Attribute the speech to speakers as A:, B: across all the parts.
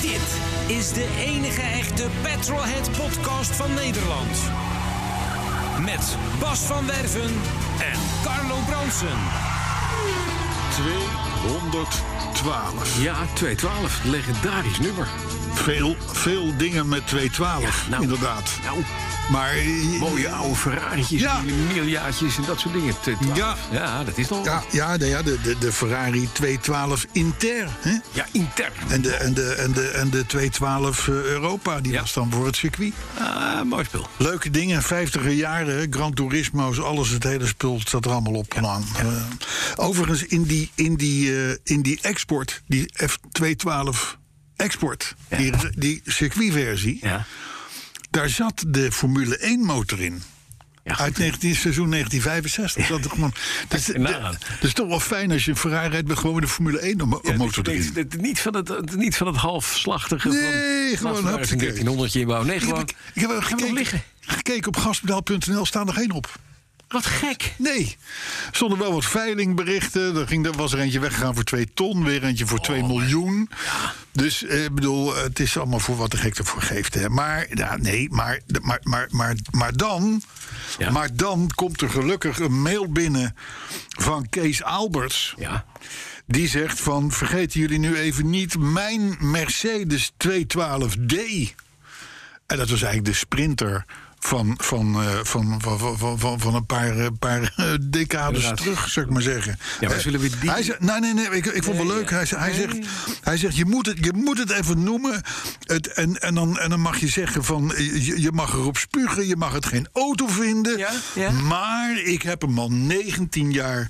A: Dit is de enige echte Petrolhead podcast van Nederland. Met Bas van Werven en Carlo Bronsen.
B: 212.
C: Ja, 212. Legendarisch nummer.
B: Veel, veel dingen met 212,
C: Ja, nou.
B: inderdaad.
C: Nou,
B: Maar eh,
C: mooie oude Ferrari'tjes,
B: Ja.
C: ja. miljaatjes en dat soort dingen. 212.
B: Ja.
C: ja, dat is nog.
B: ja, ja, nou ja de, de, de Ferrari 212 Inter. Hè?
C: Ja, intern.
B: En, de, en, de, en, de, en de 212 Europa, die
C: Ja.
B: was dan voor het circuit.
C: Ah, mooi spul.
B: Leuke dingen, 50er jaren, Gran Turismo's, alles, het hele spul zat er allemaal op. aan. Eh, overigens, in die, in, die, eh, in die export, die F212 export,
C: Ja.
B: die, die circuitversie,
C: Ja.
B: daar zat de Formule 1 motor in.
C: Ja, goed.
B: Uit 19, seizoen 1965. Dat, is gewoon, dat, is,
C: je nagaan.
B: dat is toch wel fijn als je een Ferrari rijdt met gewoon de Formule 1 mo-
C: Ja,
B: motor
C: dit-
B: erin.
C: dit- dit- niet, van het, het- niet van het halfslachtige.
B: Nee,
C: van,
B: gewoon
C: een
B: hupsakee.
C: 1300 inbouw. Nee,
B: Ik
C: gewoon.
B: heb, ik heb
C: Gaan we nog
B: gekeken,
C: liggen.
B: gekeken op gaspedaal.nl, staan er geen op.
C: Wat gek.
B: Nee, er stonden wel wat veilingberichten. Er, ging, er was er eentje weggegaan voor 2 ton, weer eentje voor 2 miljoen. Dus ik bedoel, het is allemaal voor wat de gek ervoor geeft. Hè. Maar, ja, nee, maar, maar, maar, maar, maar, dan,
C: Ja.
B: maar dan komt er gelukkig een mail binnen van Kees Alberts.
C: Ja.
B: Die zegt van, vergeten jullie nu even niet mijn Mercedes 212D. En dat was eigenlijk de sprinter van, van, eh, van, van, van, van- van, van een paar, eh, paar eh, decades
C: Inderdaad.
B: terug, zou ik maar zeggen.
C: Ja, maar
B: Eh,
C: zullen we die-
B: Hij zegt, nee, nee, nee, ik, ik vond het wel leuk. Hij, zegt- hij zegt, hij zegt je, moet het, je moet het even noemen. Het, en, en, dan, en dan mag je zeggen van, eh, je, je mag erop spugen. Je mag het geen auto vinden.
C: Ja, ja.
B: Maar ik heb hem al 19 jaar.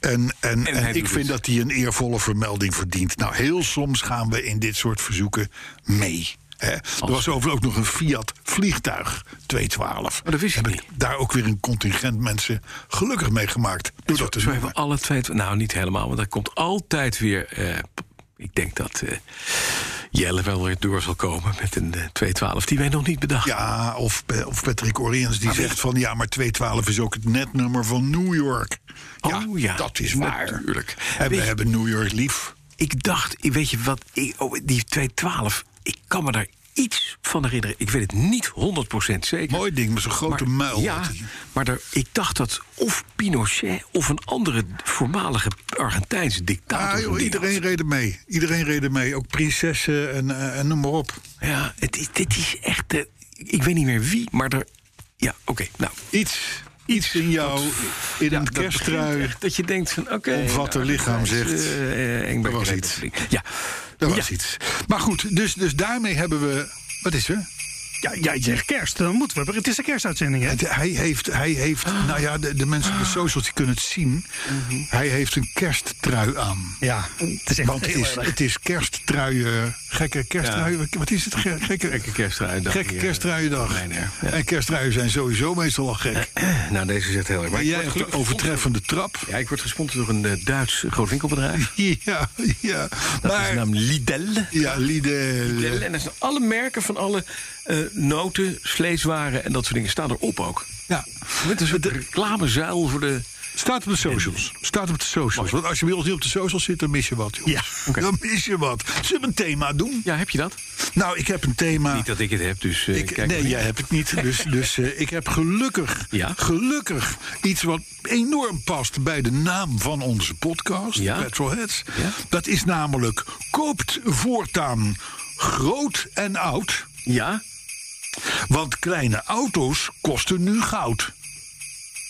B: En, en, en,
C: hij doet
B: ik vind
C: het.
B: dat hij een eervolle vermelding verdient. Nou, heel soms gaan we in dit soort verzoeken mee. Hè. Er was overigens ook nog een Fiat vliegtuig, 212.
C: Oh, dat wist ik
B: Heb
C: niet.
B: daar ook weer een contingent mensen gelukkig mee gemaakt. Doe dat te
C: Zo Dus hebben
B: noemen.
C: we alle twee. Nou, niet helemaal, want er komt altijd weer. eh, ik denk dat eh, Jelle wel weer door zal komen met een eh, 212 die wij nog niet bedacht
B: Ja, of, Pe- of Patrick Oriens
C: Ah,
B: die zegt van... ja, maar 212 is ook het netnummer van New York.
C: Oh ja,
B: dat is waar.
C: natuurlijk.
B: En we
C: Weet je-
B: hebben New York lief.
C: Ik dacht, ik- weet je wat, ik, oh, die 212, ik kan me daar iets van herinneren. Ik weet het niet 100% zeker.
B: Mooi ding, met zo'n grote
C: Maar-
B: muil.
C: Ja,
B: had hij.
C: maar er, ik dacht dat of Pinochet of een andere voormalige Argentijnse dictator.
B: Ah,
C: die
B: joh,
C: dat-
B: iedereen reed er mee. Iedereen reed er mee. Ook prinsessen en, eh, en noem maar op.
C: Ja, het is, dit is echt, eh, ik weet niet meer wie, maar er... Ja, oké, nou.
B: Iets, iets in jou, in
C: ja,
B: een
C: dat begint
B: kersttrui.
C: echt Dat je denkt van, oké... nou,
B: Omvat de lichaam,
C: dat is,
B: zegt.
C: eh, eh, Engberg
B: Er was
C: en
B: iets.
C: Engelbrink. Ja.
B: Dat
C: Ja.
B: was iets. Maar goed, dus, dus daarmee hebben we... Wat is er?
D: Ja, jij zegt kerst, dan moeten we. Het is de kerstuitzending, hè?
B: Het- hij heeft, hij heeft
C: Ah.
B: nou ja, de, de mensen op de socials die kunnen het zien.
C: Mhm.
B: Hij heeft een kersttrui aan.
D: Ja, het is echt
B: Want het is, het is kersttruien, gekke kersttruien. Wat is het? Ge- Gekke,
C: Gekke kerstruiendag.
B: Gekke
C: Ja.
B: kersttruiendag.
C: Nee, nee, ja.
B: En kersttruien zijn sowieso meestal al gek.
C: Nou, deze zegt heel erg.
B: Maar
C: Maar ik
B: jij hebt
C: word
B: de
C: gelukkig
B: overtreffende trap.
C: gesponsord- Ja, ik word gesponsord door een eh, Duits groot winkelbedrijf.
B: Ja, ja.
C: Dat is de
B: Maar,
C: naam Lidl.
B: ja,
C: Lidl.
B: Lidl.
C: En dat zijn alle merken van alle eh, noten, vleeswaren en dat soort dingen staan erop ook.
B: Ja.
C: Met een soort reclamezuil voor de...
B: Staat op de socials. Staat op de socials. Want als je bij ons niet op de socials zit, dan mis je wat. Jongens.
C: Ja, oké.
B: Dan mis je wat. Zullen we een thema doen?
C: Ja, heb je dat?
B: Nou, ik heb een thema.
C: Niet dat ik het heb, dus eh,
B: Ik-
C: kijk
B: nee,
C: maar.
B: jij hebt het niet. Dus, dus eh, ik heb gelukkig,
C: Ja.
B: gelukkig iets wat enorm past bij de naam van onze podcast,
C: Ja.
B: Petrolheads.
C: Ja.
B: Dat is namelijk koopt voortaan groot en oud.
C: Ja?
B: Want kleine auto's kosten nu goud.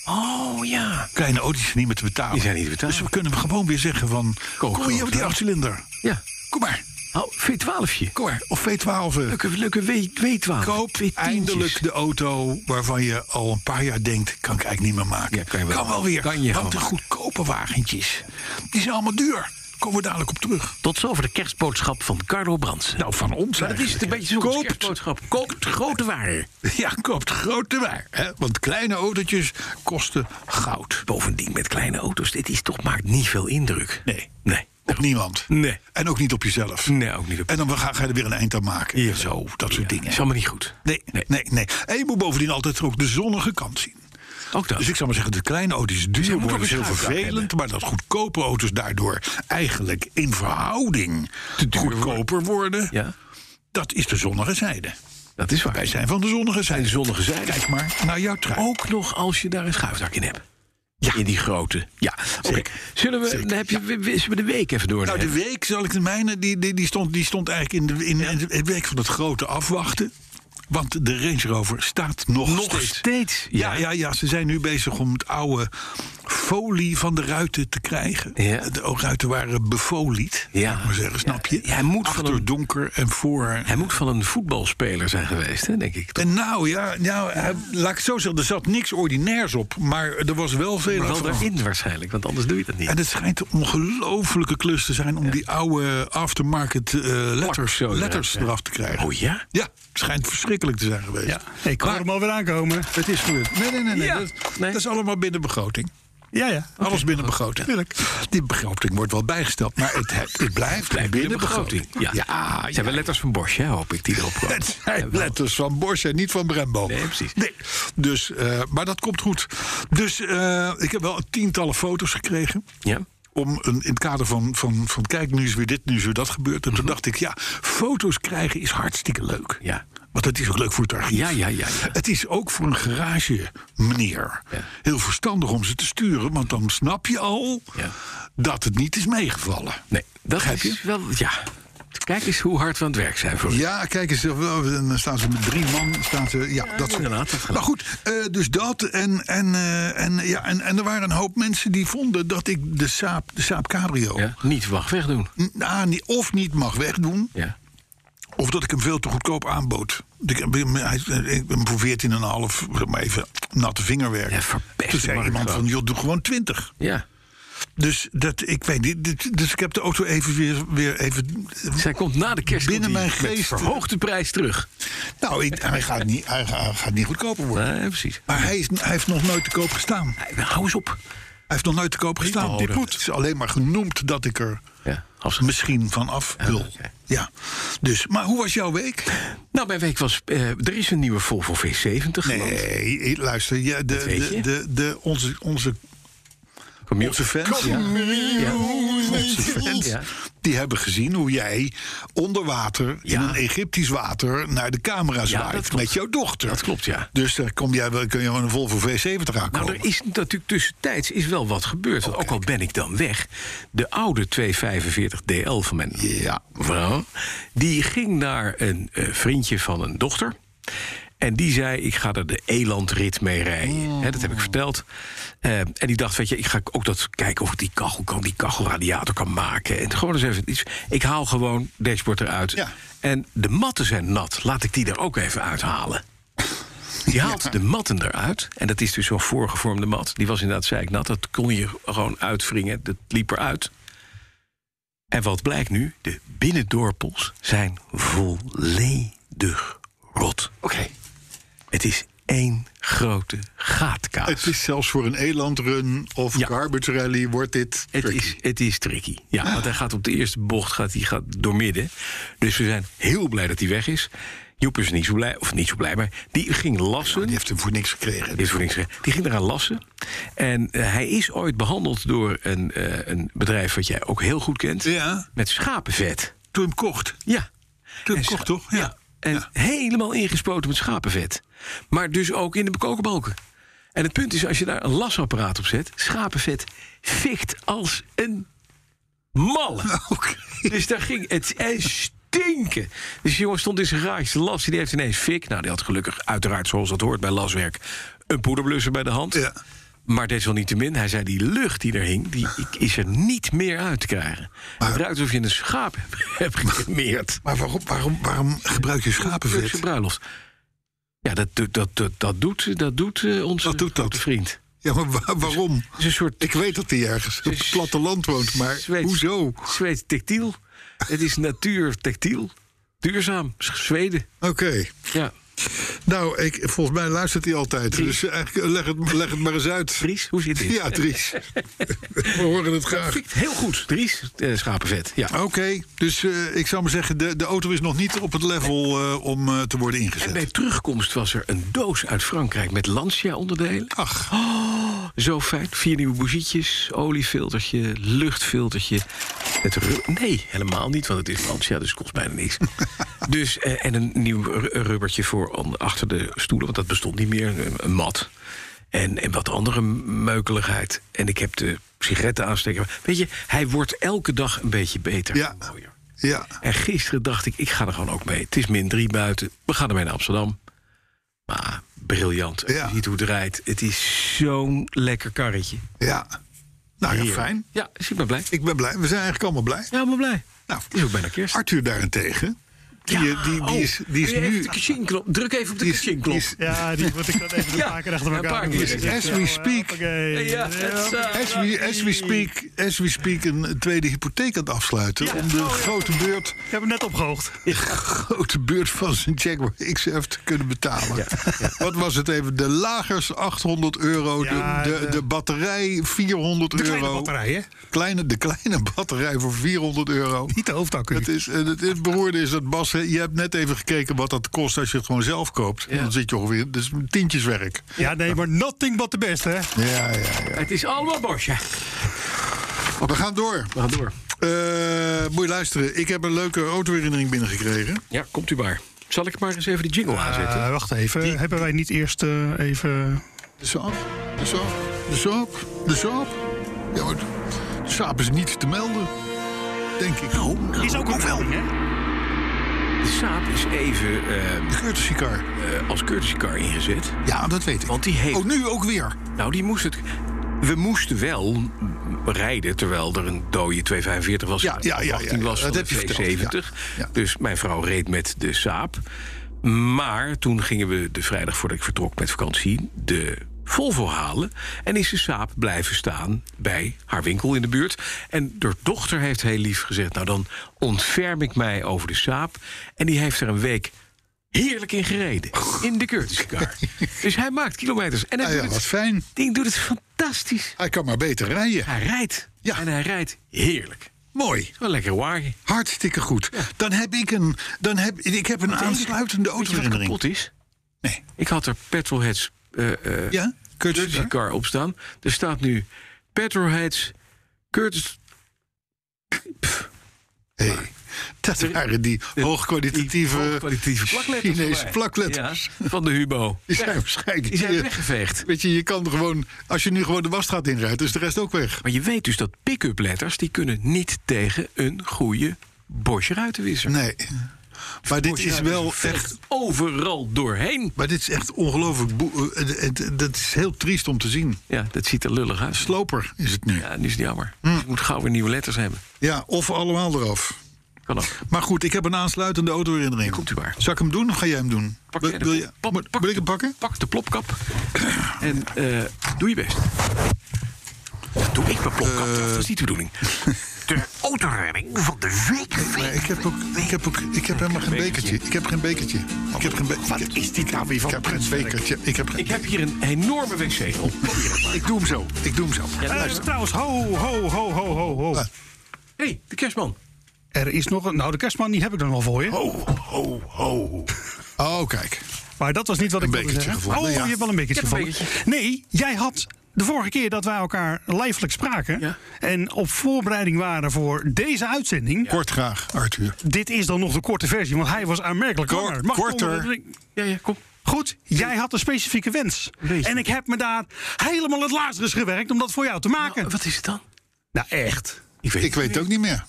C: Oh, ja.
B: Kleine auto's zijn niet meer te betalen.
C: Die zijn niet te betalen.
B: Dus we kunnen gewoon weer zeggen van,
C: Koop
B: kom hier
C: groot,
B: met die
C: hè?
B: achtcilinder.
C: Ja.
B: Kom maar.
C: Oh, V12.
B: Kom maar. Of V12.
C: Leuke, leuke W- W12.
B: Koop
C: W10'tjes.
B: eindelijk de auto waarvan je al een paar jaar denkt... kan ik eigenlijk niet meer maken.
C: Ja, kan je wel.
B: weer.
C: Kan je
B: want de
C: gewoon.
B: goedkope wagentjes, die zijn allemaal duur. Komen we dadelijk op terug.
C: Tot zover de kerstboodschap van Carlo Brandsen.
B: Nou, van ons
C: Maar dat is het een
B: eigenlijk,
C: beetje
B: hè.
C: zo'n
B: Koopt-
C: kerstboodschap. Koopt grote waarden.
B: Ja, koopt grote waar. Hè? Want kleine autootjes kosten goud.
C: Bovendien met kleine auto's. Dit is toch maakt niet veel indruk.
B: Nee.
C: Nee.
B: Op niemand.
C: Nee.
B: En ook niet op jezelf.
C: Nee, ook niet op-
B: En dan ga, ga je er weer een eind aan maken.
C: Ja.
B: Eh, Zo, dat
C: Ja,
B: soort dingen.
C: Is allemaal niet goed.
B: Nee, nee, nee. En je moet bovendien altijd ook de zonnige kant zien.
C: Ook dat.
B: Dus ik zou maar zeggen, de kleine auto's duur
C: moeten ook
B: worden is
C: een
B: heel
C: schuifdak
B: vervelend...
C: hebben.
B: maar dat goedkope auto's daardoor eigenlijk in verhouding goedkoper worden...
C: Ja,
B: dat is de zonnige zijde.
C: dat is waar.
B: Wij zijn van de zonnige zijde.
C: de zonnige zijde.
B: Kijk maar naar jouw trein.
C: Ook nog als je daar een schuifdak in hebt.
B: Ja.
C: In die grote. Ja, oké.
B: Zeker.
C: Zullen, we,
B: Zeker,
C: dan heb je, we- we- zullen we de week even doornemen?
B: Nou, de week, zal ik de mijne, die, die, die, stond, die stond eigenlijk in de, in, in de week van het grote afwachten. Want de Range Rover staat nog,
C: Nog
B: steeds.
C: steeds.
B: Ja, ja, ja, ze zijn nu bezig om het oude folie van de ruiten te krijgen.
C: Ja.
B: De ruiten waren befolied,
C: Ja.
B: ja. maar zeggen, snap je?
C: Ja, hij moet van
B: Achter
C: een-
B: donker en voor...
C: Hij moet van een voetbalspeler zijn geweest, hè, denk ik. Toch?
B: En nou ja, nou, hij- laat ik het zo zeggen, er zat niks ordinairs op. Maar er was wel veel
C: Maar
B: aan
C: wel
B: veranderd.
C: daarin waarschijnlijk, want anders doe je dat niet.
B: En het schijnt een ongelofelijke klus te zijn om die oude aftermarket eh, letters,
C: zo eruit,
B: letters
C: ja.
B: eraf te krijgen.
C: Oh ja?
B: Ja, het schijnt verschrikkelijk te zijn geweest.
C: Ja.
D: Ik hoor hem alweer aankomen.
B: Het is gebeurd. Nee, nee, nee. nee.
C: Ja,
B: Dat,
C: nee.
B: dat is allemaal binnen begroting.
D: Ja, ja.
B: Alles binnen begroting. Die begroting wordt wel bijgesteld, maar het, het, blijft,
C: Blijft binnen
B: binnen
C: begroting.
B: begroting.
C: Ja.
B: ja,
C: Het zijn wel letters van Bosch, hè, hoop ik, die erop komen.
B: Het zijn
C: Ja, wel.
B: letters van Bosch en niet van Brembo.
C: Nee, precies.
B: Dus, eh, maar dat komt goed. Dus eh, ik heb wel tientallen foto's gekregen.
C: Ja.
B: Om een, in het kader van, van, van kijk, nu is weer dit, nu is weer dat gebeurd. En toen dacht ik, ja, foto's krijgen is hartstikke leuk.
C: Mhm. Ja.
B: Want het is ook leuk voor het archief.
C: Ja, ja, ja, ja.
B: Het is ook voor een garage meneer
C: Ja.
B: heel verstandig om ze te sturen. Want dan snap je al
C: Ja.
B: dat het niet is meegevallen.
C: Nee, dat
B: Begrijp je?
C: is wel... Ja. Kijk eens hoe hard we aan het werk zijn voor u.
B: Ja, kijk eens, eh, dan staan ze met drie man. Staan ze, ja, dat soort-
C: inderdaad, dat geloof ik.
B: maar goed, eh, dus dat. En, en, eh, en, ja, en, en er waren een hoop mensen die vonden dat ik de Saab, de Saab Cabrio...
C: Ja, Niet mag wegdoen.
B: n- ah, niet- of niet mag wegdoen,
C: Ja.
B: of dat ik hem veel te goedkoop aanbood. Ik, heb hem- hij, ik ben voor 14,5, zeg maar even natte vingerwerk.
C: Ja, verpest
B: Toen zei
C: markt
B: iemand
C: gewoon.
B: van, joh, doe gewoon 20.
C: Ja.
B: Dus, dat, ik weet niet, dit- dus ik heb de auto even weer, weer even...
C: Zij komt na de kerst
B: Binnen
C: komt die
B: mijn
C: met
B: geest.
C: verhoogde prijs terug.
B: Nou, ik, hij, gaat niet, hij, gaat- hij gaat niet goedkoper worden.
C: Nee, precies.
B: Maar hij, is, hij heeft nog nooit te koop gestaan. Hij
C: Hey, Hou eens op.
B: heeft nog nooit te koop gestaan.
C: Oh, dat-
B: Het is alleen maar genoemd dat ik er
C: Ja, afscheid.
B: misschien van af wil.
C: oké.
B: Ja. Dus, maar hoe was jouw week?
C: Nou, mijn week was... eh, er is een nieuwe Volvo V70 geland.
B: Nee, luister. Ja, de,
C: weet je.
B: de, de, de, onze, onze,
C: Kom je-
B: onze fans, ja.
C: Ja.
B: onze fans
C: Ja.
B: die hebben gezien hoe jij onder water, in
C: Ja.
B: een Egyptisch water, naar de camera
C: dat
B: zwaait
C: klopt.
B: met jouw dochter.
C: Dat klopt, ja.
B: Dus daar kom jij, wel- kun je gewoon een Volvo V70 aankomen.
C: Nou, er is natuurlijk tussentijds is wel wat gebeurd. Want ook al ben ik dan weg, de oude 245 DL van mijn
B: Ja.
C: vrouw... die ging naar een eh, vriendje van een dochter... En die zei, ik ga er de Elandrit mee rijden. Hè, dat heb ik verteld. Eh, en die dacht, weet je, ik ga ook dat kijken of ik die kachel kan, die kachelradiator kan maken. En gewoon eens even iets. Ik haal gewoon dashboard eruit.
B: Ja.
C: En de matten zijn nat. Laat ik die er ook even uithalen. Die haalt de matten eruit. En dat is dus zo'n voorgevormde mat. Die was inderdaad zeiknat. Dat kon je gewoon uitwringen. Dat liep eruit. En wat blijkt nu? De binnendorpels zijn volledig rot. Oké. Het is één grote gaatkaas.
B: Het is zelfs voor een elandrun of
C: Ja.
B: garbage rally wordt dit...
C: Het
B: tricky.
C: is, het is tricky. Ja, want hij gaat op de eerste bocht gaat, die gaat doormidden. Dus we zijn heel blij dat hij weg is. Joep is niet zo blij, of niet zo blij, maar die ging lassen.
B: Die heeft hem voor niks gekregen. dus-
C: Dit is voor niks gezegd. Die ging eraan lassen. En eh, hij is ooit behandeld door een, eh, een bedrijf wat jij ook heel goed kent.
B: Ja.
C: Met schapenvet.
B: Toen hem kocht.
C: Ja.
B: Toen hem
C: En
B: kocht,
C: scha-
B: toch? Ja.
C: En
B: Ja.
C: helemaal ingespoten met schapenvet. Maar dus ook in de kookbalken. En het punt is, als je daar een lasapparaat op zet... schapenvet fikt als een malle.
B: Oké.
C: Dus daar ging het en stinken. Dus die jongen stond in zijn garage te lassen. Die heeft ineens fik. Nou, die had gelukkig, uiteraard, zoals dat hoort bij laswerk... een poederblusser bij de hand.
B: Ja.
C: Maar desalniettemin, hij zei, die lucht die er hing... die ik- is er niet meer uit te krijgen. het ruikt alsof je een schaap hebt gecremeerd.
B: Maar waarom, waarom, waarom gebruik je
C: Turkse
B: schapenvet?
C: bruiloft. Ja, dat, doet- dat, dat, dat doet, dat doet eh, onze
B: Dat doet dat.
C: grote vriend.
B: Ja, maar wa- waarom?
C: Het is een soort
B: Ik weet dat hij ergens op het platteland woont, maar
C: Zweeds-
B: hoezo?
C: Zweeds textiel. Het is natuur textiel. Duurzaam. Z- Zweden.
B: Oké.
C: Ja.
B: Nou, ik, volgens mij luistert hij altijd.
C: Dries.
B: Dus eigenlijk leg het, leg het maar eens uit.
C: Dries, hoe zit dit?
B: Ja, Dries. We horen het graag.
C: Fikt Heel goed. Dries, eh, schapenvet. Ja.
B: Oké, dus eh, ik zou maar zeggen, de, de auto is nog niet op het level eh, om eh, te worden
C: En
B: ingezet.
C: bij terugkomst was er een doos uit Frankrijk met Lancia-onderdelen. Oh,
B: Ach,
C: Zo fijn. Vier nieuwe bougietjes, oliefiltertje, luchtfiltertje. Het ru- nee, helemaal niet, want het is Lancia, dus het kost bijna niks. dus, eh, en een nieuw ru- rubbertje voor on- achter de stoelen, want dat bestond niet meer. Een, een mat. En, en wat andere meukeligheid. En ik heb de sigaretten aansteker. Weet je, hij wordt elke dag een beetje beter.
B: Ja.
C: en mooier.
B: ja.
C: En gisteren dacht ik, ik ga er gewoon ook mee. Het is min 3 buiten. We gaan ermee naar Amsterdam. Maar briljant.
B: Ja.
C: Je ziet hoe het rijdt. Het is zo'n lekker karretje.
B: Ja. Nou ja, fijn.
C: Ja, dus ik ben blij.
B: Ik ben blij. We zijn eigenlijk allemaal blij.
C: Ja, ik ben blij.
B: Nou,
C: Het is ook bijna kerst. Oh,
B: Arthur daarentegen. Die, eh, die,
D: oh.
B: die is, die is nu...
C: Druk even op de
B: Die is,
C: kachin-knop.
B: die is,
D: Ja, die moet ik dan even een
C: Ja,
D: paar keer achter
C: een
D: elkaar
C: paar
D: doen.
C: keer.
D: Dus ik
B: As
D: zeg,
B: we
D: oh,
B: speak.
D: hoppakee.
C: Ja, het, eh,
B: as, we, as, we speak, as we speak een tweede hypotheek aan het afsluiten... om de grote beurt,
D: Ik heb hem net opgehoogd.
B: grote beurt van zijn Jaguar XF te kunnen betalen. Wat was het even? De lagers 800 euro, de-
D: Ja,
B: de, de,
D: de-
B: batterij 400
D: De kleine
B: euro.
D: batterij, hè?
B: Kleine, de kleine batterij voor 400 euro.
D: Niet de hoofdaccu.
B: Het, is, en het, het beroerde is dat Bas, hè, je hebt net even gekeken wat dat kost als je het gewoon zelf koopt. Dan zit je ongeveer, dus tientjeswerk.
D: Ja, nee, maar nothing but the best, hè?
B: Ja, ja, ja.
C: het is allemaal bosje.
B: We gaan door.
C: We gaan door.
B: Eh, moet je luisteren, ik heb een leuke autoherinnering binnengekregen.
C: Ja, komt u maar. Zal ik maar eens even die jingle aanzetten?
D: Eh, wacht even. Hebben wij niet eerst eh, even...
B: De saap, de saap, de saap, de saap. Ja, maar de saap is niet te melden, denk ik. Nou,
D: Is ook een wel, hè?
C: Eh, De saap is even eh,
B: de courtesy car.
C: eh, als courtesy car ingezet.
B: Ja, dat weet ik.
C: Want die heeft...
B: Oh, nu ook weer.
C: Nou, die moest het. We moesten wel mm, rijden terwijl er een dode 245 was.
B: Ja, ja, ja, ja,
C: 18
B: ja.
C: was
B: Dat
C: van
B: heb je
C: de
B: verteld,
C: 70.
B: ja, ja.
C: Dus mijn vrouw reed met de Saab. Maar toen gingen we de vrijdag voordat ik vertrok met vakantie de Volvo halen. En is de Saab blijven staan bij haar winkel in de buurt. En haar dochter heeft heel lief gezegd: Nou, dan ontferm ik mij over de Saab. En die heeft er een week. Heerlijk in gereden. In de courtesy car. Dus hij maakt kilometers. En hij
B: Ah,
C: doet
B: ja,
C: het
B: wat fijn.
C: ding doet het fantastisch.
B: Hij kan maar beter rijden.
C: Hij rijdt.
B: Ja.
C: En hij rijdt heerlijk.
B: Mooi.
C: Wel lekker wagen.
B: Hartstikke goed. Dan heb ik een, dan heb, ik heb Ah, een aansluitende
C: Weet je wat
B: autoherinnering.
C: kapot is?
B: Nee.
C: Ik had er Petrolheads eh eh
B: Ja? Curtis
C: Courtesy Car op staan. Er staat nu Petrolheads Curtis...
B: Hey, dat waren die hoogkwalitatieve,
C: kwalitatieve plakletters.
B: Chinese
C: voor mij.
B: plakletters.
C: Ja, van de Hubo.
B: Die zijn waarschijnlijk...
C: Die zijn weggeveegd.
B: Weet je, je kan gewoon... Als je nu gewoon de wasstraat inrijdt, is de rest ook weg.
C: Maar je weet dus dat pick-up letters... die kunnen niet tegen een goede Bosch ruitenwisser.
B: Nee. Maar dit
C: Bosch
B: is wel
C: ruitenwisser veegt
B: echt...
C: Overal doorheen.
B: Maar dit is echt ongelooflijk... boe- eh, eh, eh, Dat is heel triest om te zien.
C: Ja, dat ziet er lullig uit.
B: Sloper is het nu.
C: Ja, nu is het jammer.
B: Hm.
C: Dus ik moet gauw weer nieuwe letters hebben.
B: Ja, of allemaal eraf.
C: Kan ook.
B: Maar goed, ik heb een aansluitende autoherinnering.
C: komt u maar.
B: Zal ik hem doen of ga jij hem doen?
C: Pak
B: wil,
C: jij de
B: wil,
C: pop-
B: je,
C: pak-
B: moet-
C: pak
B: wil ik
C: de-
B: hem pakken?
C: Pak de plopkap en eh, doe je best. Dat doe ik mijn plopkap,
B: Eh.
C: dat is niet de bedoeling. De autoredding van de week.
B: Nee, ik heb ook, ik heb ook, ik heb helemaal geen bekertje. Ik heb geen bekertje. Ik heb geen bekertje. Wat is dit nou weer van Ik heb geen bekertje. Ik heb geen.
C: Ik heb hier een enorme wc op.
B: Ik doe hem zo. Ik doe hem zo.
D: Eh, trouwens, ho, ho, ho, ho, ho, ho.
B: Wat?
C: Hé, hey, de kerstman.
D: Er is nog een... Nou, de kerstman, die heb ik dan al voor je.
C: Ho, ho, ho.
B: Oh, kijk.
D: Maar dat was niet wat
B: Een
D: ik wilde
B: bekertje
D: zeggen.
B: gevonden,
D: Oh,
B: ja.
D: je hebt wel een bekertje
C: Ik heb een
D: gevonden. Nee, jij had de vorige keer dat wij elkaar lijfelijk spraken...
C: Ja.
D: en op voorbereiding waren voor deze uitzending...
B: Kort graag, Arthur.
D: Dit is dan nog de korte versie, want hij was aanmerkelijk
B: Kor-
D: langer. Mag ik
B: korter.
D: onder-
C: Ja, ja, kom.
D: Goed, jij had een specifieke wens.
C: Jeetje.
D: En ik heb me daar helemaal het lazarus gewerkt om dat voor jou te maken.
C: Wat is het dan?
D: Nou, echt.
C: weet
B: Ik weet het ook niet meer.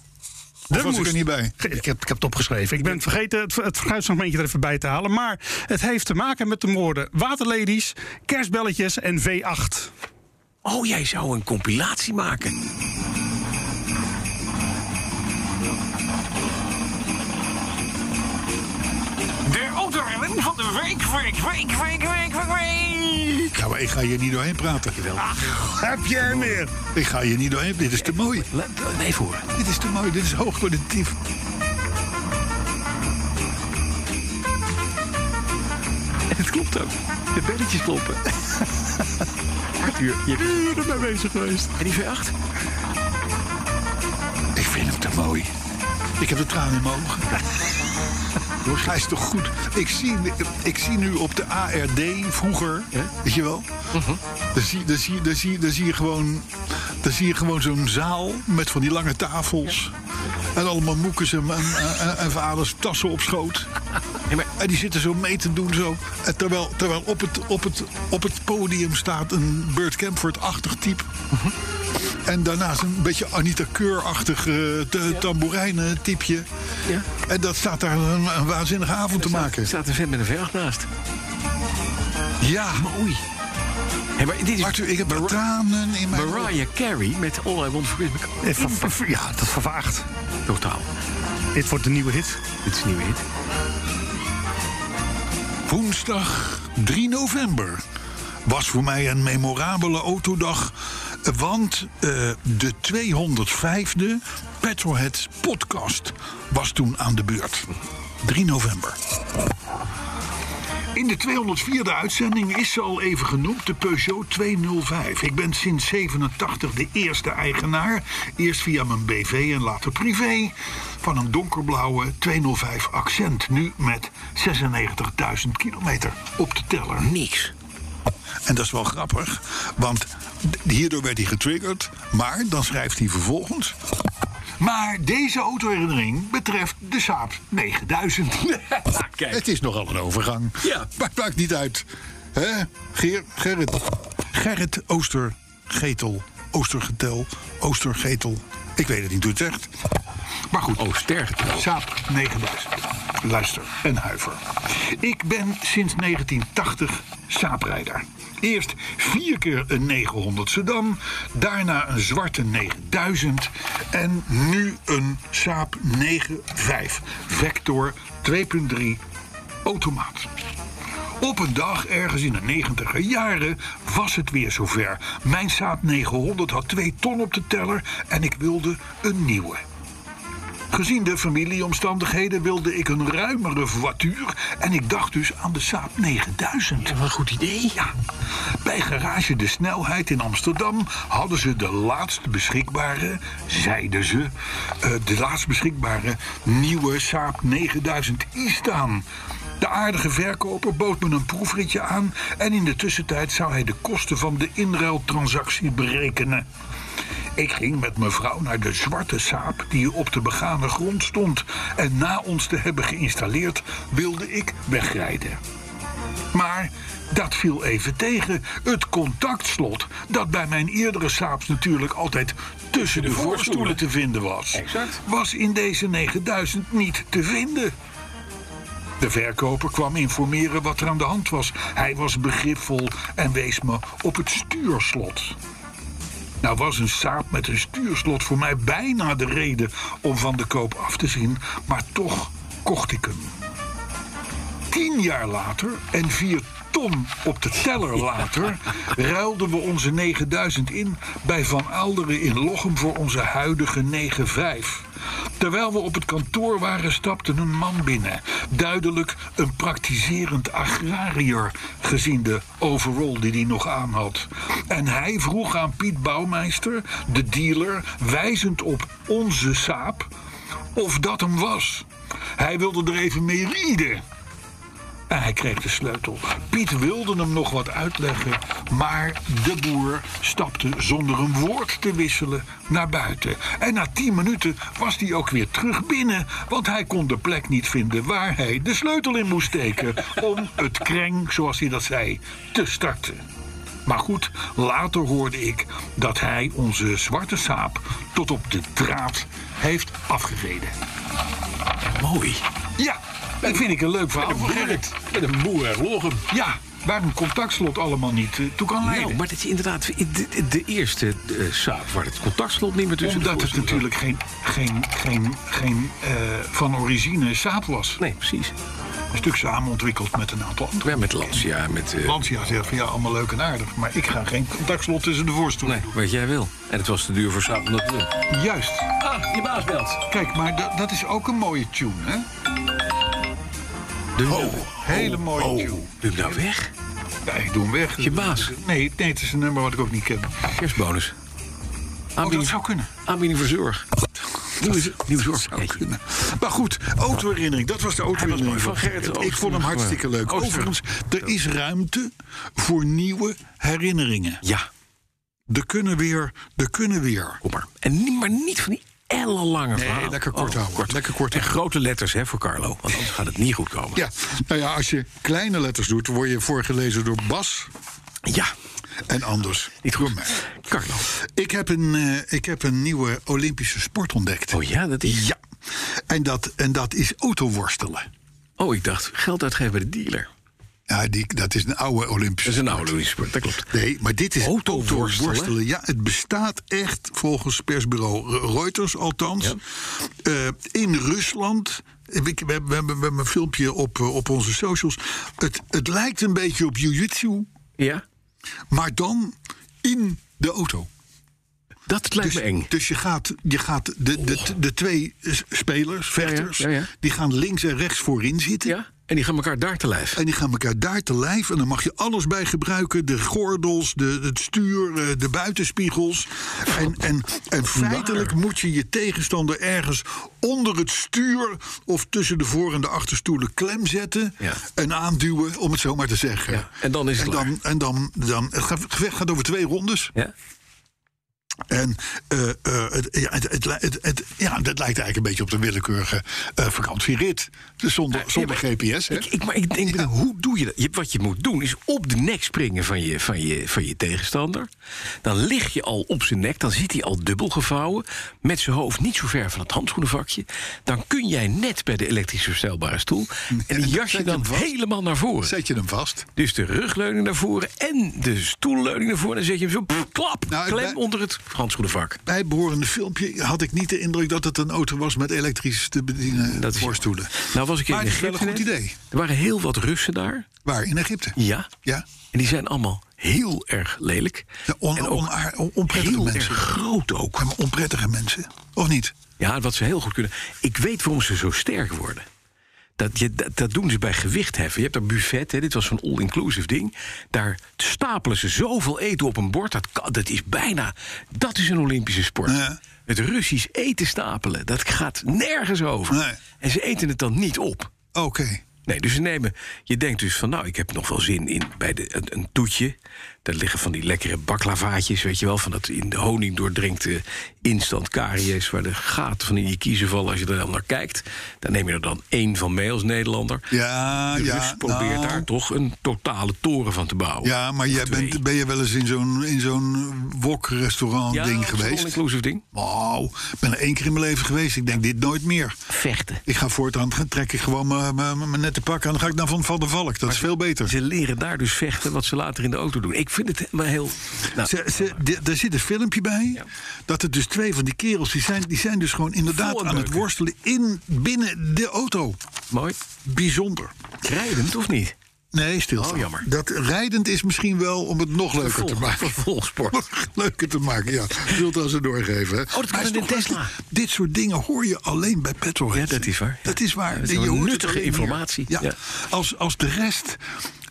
D: Dat
B: was ik er niet bij?
D: Ge- Ik heb, ik heb het opgeschreven. Ik ben het vergeten het, het fruitsegmentje er even bij te halen. Maar het heeft te maken met de moorden waterladies, kerstbelletjes en V8.
C: Oh, jij zou een compilatie maken.
A: De autoren van de week, week, week, week, week, week, week.
B: Ja, maar ik ga hier niet doorheen praten. Ach, heb je hem weer? Ik ga hier niet doorheen. Dit is te mooi.
C: eh, Nee, horen.
B: Dit is te mooi. Dit is hoogkwalitatief.
C: En het klopt ook. De belletjes kloppen. Arthur, je bent uren mee bezig geweest. En die V8?
B: Ik vind hem te mooi. Ik heb de tranen in mijn ogen. Hij is toch goed? Ik zie, ik zie nu op de ARD vroeger, weet je wel? Dan zie, dan zie, dan zie, dan zie je gewoon, dan zie je gewoon zo'n zaal met van die lange tafels. En allemaal moekes en, en, en, en vaders tassen op schoot. En die zitten zo mee te doen. Zo. En terwijl terwijl op, het, op, het, op het podium staat een Burt Camford-achtig type.
C: Mhm.
B: En daarnaast een beetje Anita Keur-achtig eh, te- tamboerijnen-typje.
C: Ja.
B: En dat staat daar een, een waanzinnige avond te maken.
C: Er staat een vent met een V8 naast.
B: Ja,
C: Oei. Hé, maar dit is
B: Arthur, ik heb tranen in mijn ogen.
C: Mariah Carey met All I Want For Christmas.
D: Eh, ver- ver- ver- Ja, dat vervaagt.
C: Totaal.
D: Dit wordt de nieuwe hit.
C: Dit is een nieuwe hit.
B: Woensdag 3 november was voor mij een memorabele autodag. Want eh, de 205e Petrolhead podcast was toen aan de beurt. 3 november. In de 204e uitzending is ze al even genoemd, de Peugeot 205. Ik ben sinds 87 de eerste eigenaar, eerst via mijn BV en later privé, van een donkerblauwe 205 Accent. Nu met 96.000 kilometer op de teller.
C: Niks.
B: En dat is wel grappig, want d- hierdoor werd hij getriggerd. Maar dan schrijft hij vervolgens. Maar deze autoherinnering betreft de Saab 9000.
C: kijk.
B: Het is nogal een overgang.
C: Ja.
B: Maar het maakt niet uit. Hè? Geer, Gerrit. Gerrit Oostergetel. Oostergetel. Oostergetel. Ik weet het niet hoe het zegt. Maar goed.
C: Oh, sterk.
B: Saap 9000. Luister en huiver. Ik ben sinds 1980 saaprijder. Eerst vier keer een 900 sedan, daarna een zwarte 9000 en nu een Saab 95 Vector 2.3 automaat. Op een dag, ergens in de negentiger jaren, was het weer zover. Mijn Saab 900 had twee ton op de teller en ik wilde een nieuwe. Gezien de familieomstandigheden wilde ik een ruimere voituur en ik dacht dus aan de Saab 9000. Wat een goed idee. Ja. Bij Garage De Snelheid in Amsterdam hadden ze de laatst beschikbare, zeiden ze, eh, de laatst beschikbare nieuwe Saab 9000 i staan. De aardige verkoper bood me een proefritje aan en in de tussentijd zou hij de kosten van de inruiltransactie berekenen. Ik ging met mevrouw naar de zwarte saap die op de begane grond stond. En na ons te hebben geïnstalleerd, wilde ik wegrijden. Maar dat viel even tegen. Het contactslot, dat bij mijn eerdere saaps natuurlijk altijd tussen de voorstoelen te vinden was, was in deze 9000 niet te vinden. De verkoper kwam informeren wat er aan de hand was. Hij was begripvol en wees me op het stuurslot. Nou was een saap met een stuurslot voor mij bijna de reden om van de koop af te zien, maar toch kocht ik hem. Tien jaar later en vier ton op de teller later ruilden we onze 9000 in bij Van Alderen in Lochem voor onze huidige 95. Terwijl we op het kantoor waren, stapte een man binnen. Duidelijk een praktiserend agrariër, gezien de overall die hij nog aan had. En hij vroeg aan Piet Bouwmeister, de dealer, wijzend op onze saap, of dat hem was. Hij wilde er even mee rieden. En hij kreeg de sleutel. Piet wilde hem nog wat uitleggen, maar de boer stapte zonder een woord te wisselen naar buiten. En na tien minuten was hij ook weer terug binnen, want hij kon de plek niet vinden waar hij de sleutel in moest steken. om het kreng, zoals hij dat zei, te starten. Maar goed, later hoorde ik dat hij onze zwarte saap tot op de draad heeft afgereden.
C: Mooi.
B: Ja, dat vind ik een leuk verhaal. van Gerrit.
C: Met een boer en logem.
B: Ja, waar een contactslot allemaal niet eh, toe kan leiden.
C: Nou, maar dat is inderdaad de, de- de eerste eh, zaak waar het contactslot niet meer tussen
B: Omdat het
C: voorste-
B: natuurlijk geen, geen, geen, geen eh, van origine zaad was.
C: Nee, precies.
B: Een stuk samen ontwikkeld met een aantal anderen.
C: Ja, met Lancia, met... eh,
B: Lancia zegt van ja, allemaal leuk en aardig. Maar ik ga geen contactslot tussen de voorstoelen
C: nee, wat jij wil. En het was te duur voor Saab om dat te doen.
B: doen. Juist.
C: Ah, je baas belt.
B: Kijk, maar da- dat is ook een mooie tune, hè?
C: De
B: Hele mooie tune.
C: Doe hem nou weg.
B: Nee, ik doe hem weg.
C: Oh, Je baas.
B: Nee, nee, het is een nummer wat ik ook niet ken.
C: Kerstbonus.
B: Oh, dat
C: Aanbieding,
B: zou kunnen.
C: aanbieding voor zorg. Nieuw zorg.
B: Zou kunnen. Maar goed, autoherinnering. Dat was de autoherinnering
C: Hij was
B: van
C: mooi. Van
B: Gerrit.
C: Gerrit
B: Ik vond hem
C: Oosterman.
B: hartstikke leuk.
C: Oosterman.
B: Overigens, er is ruimte voor nieuwe herinneringen.
C: Ja,
B: Er kunnen weer, er kunnen weer.
C: kom maar. En niet, maar niet van die ellenlange
B: Nee,
C: verhalen.
B: lekker kort
C: Oh,
B: houden. Lekker kort
C: En
B: houden.
C: grote letters hè, voor Carlo. Want anders gaat het niet goed komen.
B: Ja, nou ja, als je kleine letters doet, word je voorgelezen door Bas
C: Ja,
B: en anders
C: niet
B: door
C: goed.
B: mij.
C: Carlo.
B: Ik heb, een, eh, ik heb een nieuwe Olympische sport ontdekt.
C: Oh ja, dat is...
B: Ja, en dat, en dat is autoworstelen.
C: Oh, ik dacht, geld uitgeven bij de dealer.
B: Ja, die, dat is een oude Olympische
C: Dat is een oude Louis sport, dat klopt.
B: Nee, maar dit is
C: Autoworstelen?
B: autoworstelen. Ja, het bestaat echt volgens persbureau Reuters althans. Eh, in Rusland. Ik- We, hebben- we, hebben- we hebben een filmpje op, eh, op onze socials. Het, het lijkt een beetje op jiu-jitsu,
C: Ja?
B: maar dan in de auto.
C: Dat lijkt
B: Dus,
C: me eng. Oh.
B: dus je gaat, je gaat de, de, de twee eh, spelers, vechters,
C: ja, ja.
B: die gaan links en rechts voorin zitten.
C: Ja? En die gaan elkaar daar te lijf.
B: En die gaan elkaar daar te lijf. En dan mag je alles bij gebruiken. De gordels, de, het stuur, eh, de buitenspiegels. En, en, en feitelijk moet je je tegenstander ergens onder het stuur... of tussen de voor- en de achterstoelen klem zetten.
C: Ja.
B: En aanduwen, om het zo maar te zeggen.
C: Ja, en dan is het
B: en dan, en dan, dan Het gaat- het gevecht gaat over twee rondes.
C: Ja?
B: En eh, eh, het, ja, het, het, li- het- het- ja, dat lijkt eigenlijk een beetje op de willekeurige eh, vakantierit. Dus zonder, zonder GPS, hè?
C: Ik, ik- maar ik denk, hoe doe je dat? Je- wat je moet doen is op de nek springen van je, van, je, van je tegenstander. Dan lig je al op zijn nek, dan zit hij al dubbel gevouwen... met zijn hoofd niet zo ver van het handschoenenvakje. Dan kun jij net bij de elektrisch verstelbare stoel... en die jas je
B: zet je
C: dan
B: hem vast.
C: helemaal naar voren.
B: Zet je hem vast.
C: Dus de rugleuning naar voren en de stoelleuning naar voren... en dan zet je hem zo pff, klap,
B: Nou, ik
C: klem
B: ben-
C: onder het handschoenenvak.
B: bijbehorende filmpje had ik niet de indruk dat het een auto was met elektrisch te bedienen
C: Dat is
B: voorstoelen.
C: Nou was ik in
B: Maar het is
C: Egypte
B: wel een goed
C: net.
B: idee.
C: Er waren heel wat Russen daar.
B: Waar? In Egypte?
C: Ja.
B: Ja.
C: En die zijn allemaal heel erg lelijk.
B: Ja, on-
C: en ook
B: onaar- on- onprettige
C: heel
B: mensen.
C: erg groot ook.
B: Ja, maar onprettige mensen. Of niet?
C: Ja, wat ze heel goed kunnen. Ik weet waarom ze zo sterk worden. Dat, je, dat, dat doen ze bij gewichtheffen. Je hebt een buffet, hè, dit was zo'n all-inclusive ding. Daar stapelen ze zoveel eten op een bord. Dat, kan- dat is bijna. Dat is een Olympische sport.
B: Ja.
C: Het Russisch eten stapelen, dat gaat nergens over.
B: Nee.
C: En ze eten het dan niet op.
B: Oké.
C: Nee, dus ze nemen. Je denkt dus van, nou, ik heb nog wel zin in bij de, een, een toetje. Daar liggen van die lekkere baklavaatjes, weet je wel, van dat in de honing doordrinkte instant caries, waar de gaten van in je kiezen vallen als je er dan naar kijkt. Daar neem je er dan één van mee als Nederlander.
B: Ja,
C: de
B: ja.
C: Rus probeert
B: nou,
C: daar toch een totale toren van te bouwen.
B: Ja, maar jij
C: twee.
B: bent, ben je wel eens in zo'n, in zo'n
C: Ja,
B: wok-restaurant-ding
C: dat is een
B: geweest?
C: all-inclusive ding.
B: Wauw. Ik ben er één keer in mijn leven geweest. Ik denk dit nooit meer.
C: Vechten.
B: Ik ga voortaan trek ik gewoon mijn- mijn mijn nette pak aan. Dan ga ik naar Van, van der Valk. Dat is veel beter.
C: Ze leren daar dus vechten wat ze later in de auto doen. Ik vind het helemaal heel. Nou,
B: Ze, ze, de- er zit een filmpje bij. Dat er dus twee van die kerels. die zijn, die zijn dus gewoon inderdaad
C: Vol aan
B: aan het
C: beuken.
B: worstelen. In, binnen de auto.
C: mooi.
B: Bijzonder.
C: Rijdend of niet?
B: Nee, stil.
C: Oh, jammer.
B: Dat rijdend is misschien wel om het nog leuker te maken.
C: Vervolgsport.
B: Nog leuker te maken, ja. Zult als ze doorgeven. Hè.
C: Oh, kan
B: Maar
C: met
B: is
C: een
B: toch
C: Tesla.
B: leuk? Dit soort dingen hoor je alleen bij petrolheads.
C: Ja, dat is waar.
B: Dat is waar.
C: Ja, dat is
B: Je
C: wel
B: hoort het
C: nuttige
B: alleen hier.
C: informatie.
B: Ja.
C: Ja.
B: Als, als de rest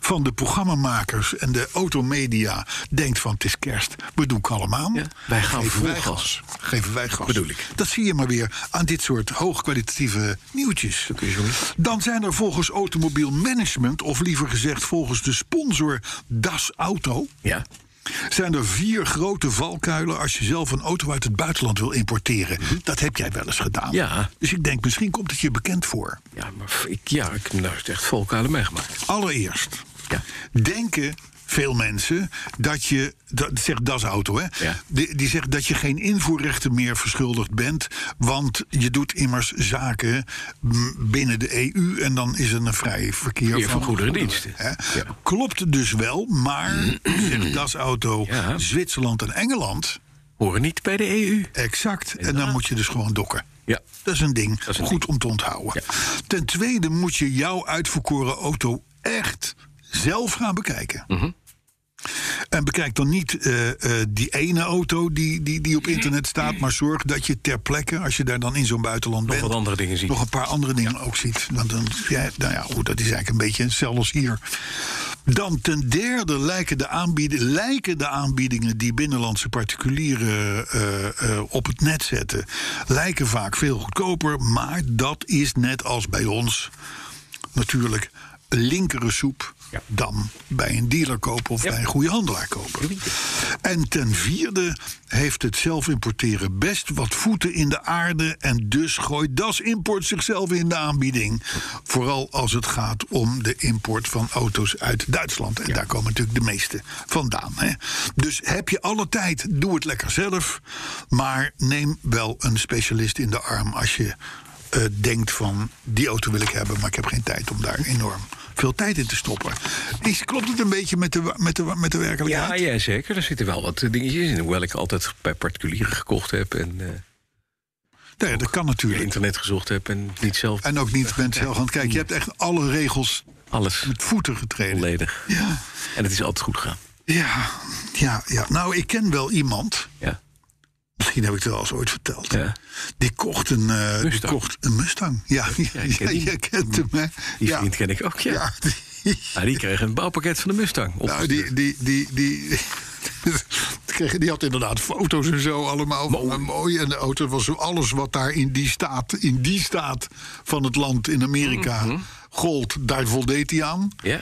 B: van de programmamakers en de automedia denkt van het is kerst, we doen kalm aan.
C: Ja, wij gaan
B: geven
C: vol
B: wij
C: gas.
B: gas. Geven wij gas.
C: Bedoel ik.
B: Dat zie je maar weer aan dit soort hoogkwalitatieve nieuwtjes.
C: kun je zo doen.
B: Dan zijn er volgens Automobiel Management, of liever gezegd volgens de sponsor Das Auto,
C: Ja.
B: zijn er vier grote valkuilen als je zelf een auto uit het buitenland wil importeren. Dat heb jij wel eens gedaan.
C: Mhm. Ja.
B: Dus ik denk, misschien komt het je bekend voor.
C: Ja, maar f- ik, ja, ik heb nou echt volkalen meegemaakt.
B: Allereerst,
C: Ja.
B: denken veel mensen dat je, dat zegt Das Auto, hè?
C: Ja.
B: Die, die zegt dat je geen invoerrechten meer verschuldigd bent, want je doet immers zaken mm, binnen de EU en dan is er een vrij verkeer
C: Verkeer van goederen en diensten.
B: hè?
C: Ja.
B: Klopt dus wel, maar zegt Das Auto,
C: Ja.
B: Zwitserland en Engeland,
C: Horen niet bij de E EU.
B: exact, en dan moet je dus gewoon dokken.
C: Ja.
B: Dat is een ding.
C: is een
B: Goed om te onthouden. Ten tweede moet je jouw uitverkoren auto echt zelf gaan bekijken. En bekijk dan niet eh, eh, die ene auto die, die, die op internet staat. Maar zorg dat je ter plekke, als je daar dan in zo'n buitenland bent.
C: wat andere dingen ziet.
B: Nog een paar andere dingen ook ziet. Want dan, ja, nou ja, goed, dat is eigenlijk een beetje hetzelfde als hier. Dan ten derde lijken de, aanbieden, lijken de aanbiedingen die binnenlandse particulieren eh, eh, op het net zetten, lijken vaak veel goedkoper. Maar dat is net als bij ons natuurlijk linkere soep dan bij een dealer kopen of bij een goede handelaar kopen. En ten vierde heeft het zelf importeren best wat voeten in de aarde en dus gooit Das Import zichzelf in de aanbieding. Vooral als het gaat om de import van auto's uit Duitsland. En daar komen natuurlijk de meeste vandaan. Hè? Dus heb je alle tijd, doe het lekker zelf. Maar neem wel een specialist in de arm als je eh, denkt van die auto wil ik hebben, maar ik heb geen tijd om daar enorm veel tijd in te stoppen. Is, klopt het een beetje met de, wa- met de, wa- met de werkelijkheid?
C: Ja, ja, zeker. Daar zitten wel wat eh, dingetjes in. Hoewel ik altijd bij particulieren gekocht heb en eh,
B: Nee, dat kan
C: via
B: natuurlijk.
C: internet gezocht heb en niet zelf
B: En ook niet bent zelf aan het kijken. Je hebt echt alle regels
C: alles
B: met voeten getreden.
C: volledig.
B: Ja,
C: En het is altijd goed gegaan.
B: ja, ja, ja. Nou, ik ken wel iemand.
C: Ja.
B: Misschien heb ik het wel eens ooit verteld.
C: Ja.
B: Die kocht een, eh, die
C: Mustang.
B: kocht een Mustang. Ja, ja,
C: ik ken die.
B: je kent hem. Hè?
C: Die
B: ja.
C: vriend ken ik ook, ja.
B: Ja, die,
C: Ah, die kreeg een bouwpakket van de Mustang. Op.
B: nou, die, die, die, die, kreeg- die had inderdaad foto's en zo allemaal. van, eh, mooi. En de auto was zo alles wat daar in die staat, in die staat van het land in Amerika
C: Mhm.
B: gold. Daar voldeed hij aan.
C: Ja.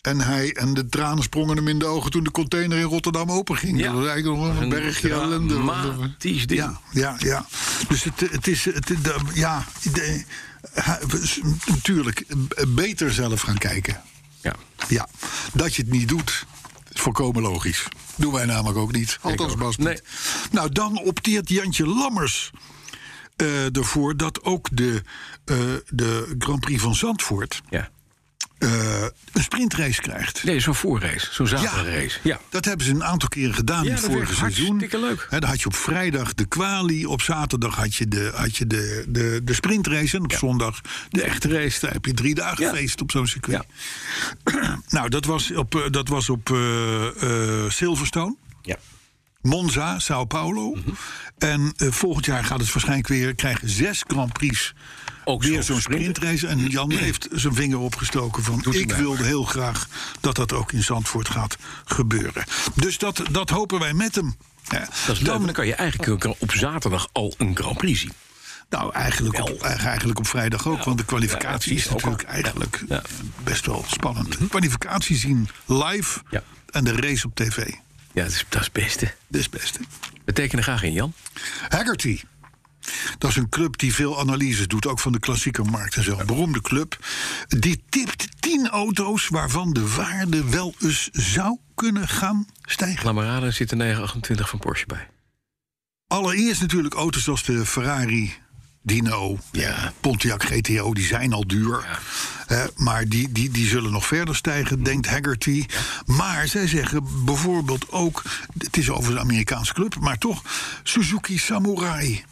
B: En, hij, en de tranen sprongen hem in de ogen toen de container in Rotterdam openging.
C: Ja.
B: Dat was eigenlijk nog een,
C: Een
B: bergje ellende.
C: dramatisch ding.
B: Ja, ja, ja. Dus het, het is... Het, de- ja, de- hij- we- natuurlijk, b- beter zelf gaan kijken.
C: ja.
B: Ja, dat je het niet doet, is volkomen logisch. Doen wij namelijk ook niet. Althans,
C: ook.
B: Bas niet.
C: Nee.
B: Nou, dan opteert Jantje Lammers eh, ervoor... dat ook de, eh, de Grand Prix van Zandvoort
C: ja.
B: eh, een sprintrace krijgt.
C: Nee, zo'n voorrace. Zo'n zaterdagrace. Ja.
B: Dat hebben ze een aantal keren gedaan in
C: Ja,
B: het
C: dat
B: vorige
C: werkt
B: seizoen.
C: hartstikke leuk.
B: Hè, dan had je op vrijdag de quali, op zaterdag had je de, had je de, de, de sprintrace... en op zondag de echte race. Daar heb je drie dagen
C: Ja.
B: feest op zo'n circuit. Nou, dat was op, eh, dat was op eh, eh, Silverstone.
C: Ja. Mhm.
B: Monza, Sao Paulo. En eh, volgend jaar gaat het waarschijnlijk weer krijgen zes Grand Prix.
C: Ook
B: weer
C: zo'n
B: zo'n
C: sprinter.
B: sprintrace. En Jan heeft zijn vinger opgestoken van...
C: hij
B: ik
C: maar.
B: wilde heel graag dat dat ook in Zandvoort gaat gebeuren. Dus dat, dat hopen wij met hem. Ja,
C: Dat is leuk, want dan kan je eigenlijk ook op zaterdag al een Grand Prix zien.
B: nou, eigenlijk op, eigenlijk op vrijdag ook. want de kwalificatie
C: ja,
B: is
C: precies, ook
B: natuurlijk
C: al.
B: eigenlijk
C: Ja. Mhm.
B: best wel spannend. De kwalificatie zien live
C: Ja.
B: en de race op tv.
C: Ja, dat is, dat is het beste.
B: Dat is het beste.
C: We tekenen graag in, Jan.
B: Haggerty. Dat is een club die veel analyses doet, ook van de klassieke markt en zo. Een beroemde club. Die tipt 10 auto's waarvan de waarde wel eens zou kunnen gaan stijgen.
C: Laat maar raden, er zit een 928 van Porsche bij.
B: Allereerst natuurlijk auto's als de Ferrari Dino, ja. Pontiac GTO, die zijn al duur. Hè, maar die, die, die zullen nog verder stijgen, denkt Haggerty. Maar zij zeggen bijvoorbeeld ook, het is over de Amerikaanse club, maar toch Suzuki Samurai.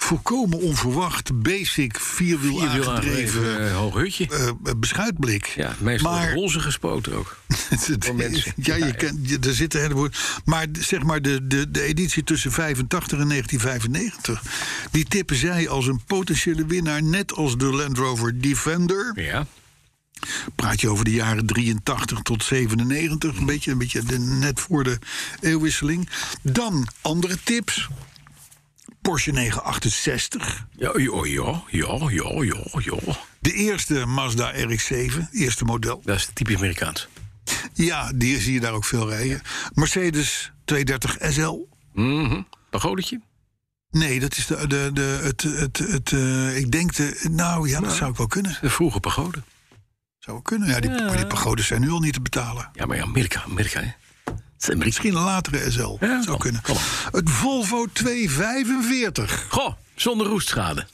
B: Volkomen onverwacht, basic, vierwiel
C: Hier wil
B: aangedreven
C: aangedreven, hoog hutje.
B: eh, beschuitblik.
C: Ja, meestal
B: maar,
C: roze gespoten ook.
B: het
C: Voor
B: is-
C: mensen.
B: Ja, je
C: Ja, ja.
B: kent, je- er zitten heleboel. Maar d- zeg maar de, de, de editie tussen 85 en 1995. Die tippen zij als een potentiële winnaar. Net als de Land Rover Defender.
C: Ja,
B: Praat je over de jaren 83 tot 97. Een beetje, een beetje de, net voor de eeuwwisseling. Dan andere tips. Porsche 968.
C: ja, oh, ja, ja, ja, ja, ja, ja.
B: De eerste Mazda RX-7. Eerste model.
C: Dat is typisch Amerikaans.
B: Ja, die zie je daar ook veel rijden. Mercedes 230 SL.
C: Mhm. Pagodetje?
B: Nee, dat is de, de, de, het, het, het, eh, ik denk de, nou ja, dat zou ik wel kunnen.
C: De vroege pagode.
B: Zou kunnen. Ja, die, maar die pagodes zijn nu al niet te betalen.
C: Ja, maar ja, Amerika, Amerika, hè. Het is Amerika.
B: Misschien een latere SL.
C: Ja,
B: Zou
C: kan,
B: kunnen.
C: kan.
B: Het Volvo 245.
C: Goh, zonder roestschade.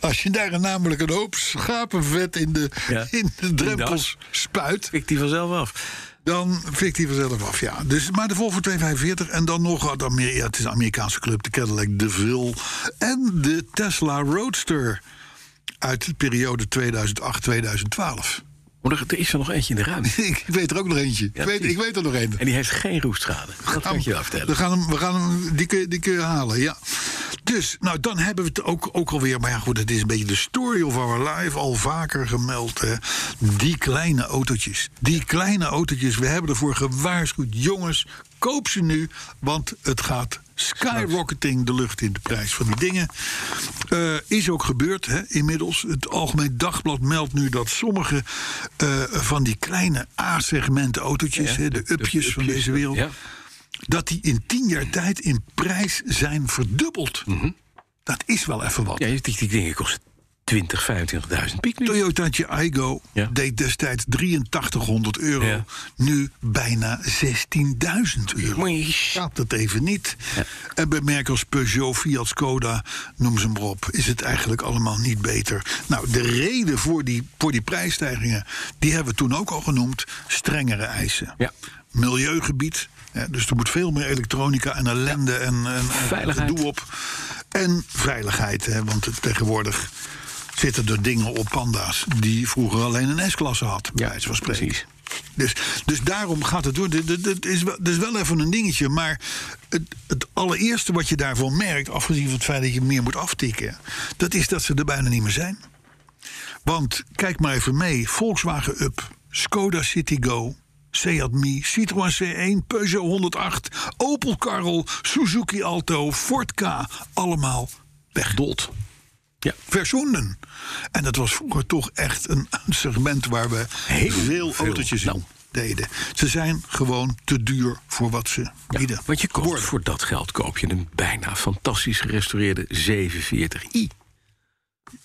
B: Als je daar namelijk een hoop schapenvet in de,
C: Ja.
B: in de drempels
C: das.
B: spuit,
C: Pikt die vanzelf af.
B: dan fikt hij vanzelf af. Ja. Dus, maar de Volvo 245 en dan nog, wat Amer- ja, het is een Amerikaanse club, de Cadillac DeVille en de Tesla Roadster uit de periode 2008-2012.
C: Maar er, er is er nog eentje in de ruimte.
B: Ik weet er ook nog eentje.
C: Ja,
B: ik, weet,
C: precies.
B: ik weet er nog een.
C: En die heeft geen roestschade. Dat kan ik je wel vertellen.
B: We gaan hem, we gaan hem die, kun je, die kun je halen, ja. Dus, nou, dan hebben we het ook, ook alweer... maar ja, goed, het is een beetje de story of our life... al vaker gemeld, hè. Die kleine autootjes. Die kleine autootjes, we hebben ervoor gewaarschuwd. Jongens, koop ze nu, want het gaat skyrocketing de lucht in de prijs van die dingen. Eh, is ook gebeurd hè, inmiddels. Het Algemeen Dagblad meldt nu dat sommige eh, van die kleine A-segment autootjes... hè, de upjes van deze wereld
C: Ja.
B: dat die in tien jaar tijd in prijs zijn verdubbeld. Dat is wel even wat.
C: Mhm. Ja, die, die dingen kosten 20, 25.000 piek nu.
B: Toyotaatje Aigo
C: Ja.
B: deed destijds 8300 euro.
C: Ja.
B: Nu bijna 16.000 euro.
C: Mooi.
B: Gaat dat even niet. En bij merken als Peugeot, Fiat, Skoda, noem ze maar op... is het eigenlijk allemaal niet beter. Nou, de reden voor die, voor die prijsstijgingen... die hebben we toen ook al genoemd. Strengere eisen.
C: Ja.
B: Milieugebied. hè, dus er moet veel meer elektronica en ellende en, en, en
C: Veiligheid.
B: gedoe op. En veiligheid, hè, want het- tegenwoordig zitten er dingen op panda's... die vroeger alleen een S-klasse had, bij
C: Ja,
B: wijze van spreken.
C: precies.
B: Dus, dus daarom gaat het door. Dit- dit- dit is wel, dit is wel even een dingetje. Maar het, het allereerste wat je daarvan merkt, afgezien van het feit dat je meer moet aftikken, dat is dat ze er bijna niet meer zijn. Want kijk maar even mee: Volkswagen Up, Skoda Citigo. Seat Mii, Citroën C1, Peugeot 108, Opel Karl, Suzuki Alto, Ford K. Allemaal weg. Dood
C: Ja.
B: verzoenden. En dat was vroeger toch echt een segment waar we heel veel
C: veel.
B: autootjes in
C: Nou.
B: deden. Ze zijn gewoon te duur voor wat ze bieden.
C: Want je koopt
B: Worden.
C: voor dat geld koop je een bijna fantastisch gerestaureerde 740i.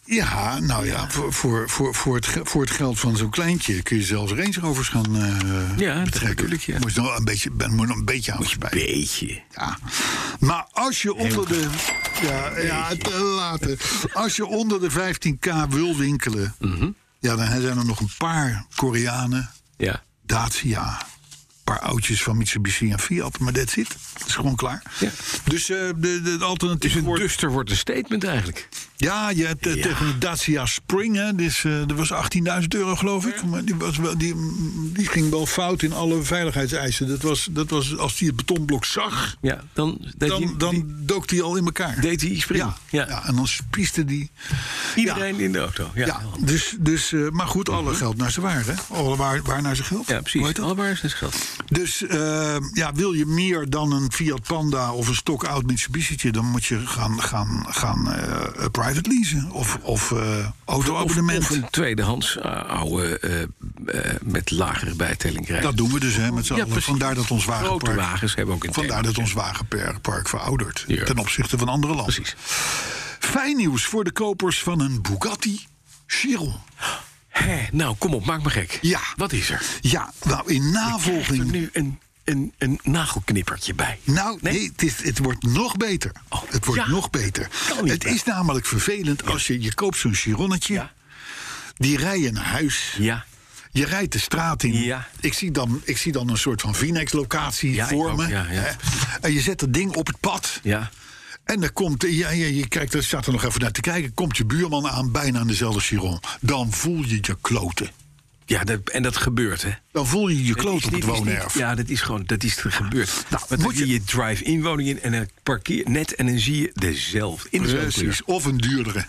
B: Ja, nou ja, voor, voor, voor, voor, het, ge- voor het geld van zo'n kleintje kun je zelfs Range Rovers gaan eh
C: Ja, dat
B: betrekken.
C: natuurlijk, ja.
B: Moet je nog een beetje, ben, moet nog een beetje aan spijt.
C: Beetje.
B: Ja. Maar als je onder de. Ja, ja te laten. Als je onder de 15k wil winkelen.
C: Mhm.
B: Ja, dan zijn er nog een paar Koreanen.
C: Ja.
B: Dacia. Een paar oudjes van Mitsubishi en Fiat. Maar that's it. Dat is gewoon klaar.
C: Ja.
B: Dus eh, de, de, het alternatief
C: Dus een
B: wordt...
C: duster wordt een statement eigenlijk.
B: Ja, je hebt eh,
C: Ja.
B: tegen een Dacia Spring. Hè, dus, eh, dat was 18.000 euro, geloof ik. Maar die, was wel, die, die ging wel fout in alle veiligheidseisen. Dat was, dat was als die het betonblok zag...
C: Ja, dan deed,
B: Dan,
C: hij, die-
B: dan dook die al in elkaar.
C: deed hij spring.
B: ja, ja. en dan spieste die.
C: Iedereen in de auto. Ja,
B: Ja,
C: ja.
B: dus, dus, eh, maar goed, alle geld naar zijn waar, hè? Alle waar, waar naar zijn geld. Hoe
C: precies.
B: heet dat?
C: Allemaal is het geld.
B: Dus eh, ja, wil je meer dan een Fiat Panda of een stokoud Mitsubishi'tje... dan moet je gaan, gaan, gaan eh, private leasen of, of eh
C: Of,
B: autoabonnement.
C: of een tweedehands eh, oude eh, eh, met lagere bijtelling krijgen.
B: Dat doen we dus hè, met z'n
C: Ja,
B: allen.
C: precies.
B: Vandaar dat ons
C: Grote
B: wagenpark,
C: wagens hebben ook een
B: vandaar
C: thema.
B: dat ons wagenpark veroudert
C: Ja.
B: ten opzichte van andere landen.
C: Precies.
B: Fijn nieuws voor de kopers van een Bugatti Chiron.
C: Hé, nou, kom op, maak me gek.
B: Ja.
C: Wat is er?
B: Ja, nou, in
C: Krijgt er
B: navolging
C: nu een, een, een nagelknippertje bij.
B: Nou, nee, het, is, het wordt nog beter.
C: Oh,
B: het wordt
C: ja.
B: nog beter.
C: Kan niet,
B: Het
C: hè?
B: is namelijk vervelend als je, je koopt zo'n chironnetje.
C: Ja.
B: Die rij je naar huis.
C: Ja.
B: Je rijdt de straat in.
C: Ja.
B: Ik, zie dan, ik zie dan een soort van Vinex-locatie
C: Ja, ik
B: voor
C: ook,
B: me.
C: ja, ja.
B: hè. En je zet dat ding op het pad.
C: Ja.
B: En dan komt, ja, ja, je kijkt, er staat er nog even naar te kijken. Komt je buurman aan, bijna aan dezelfde chiron. Dan voel je je kloten.
C: Ja, dat, en dat gebeurt, hè?
B: Dan voel je je
C: Kloot
B: kloten op het woonerf.
C: Ja, dat is gewoon, dat is er gebeurd.
B: Nou,
C: Nou, Want dan
B: moet je-
C: zie je drive-in woning in en dan parkeer net en dan zie je dezelfde. In dezelfde kleur.
B: Precies. Of een duurdere.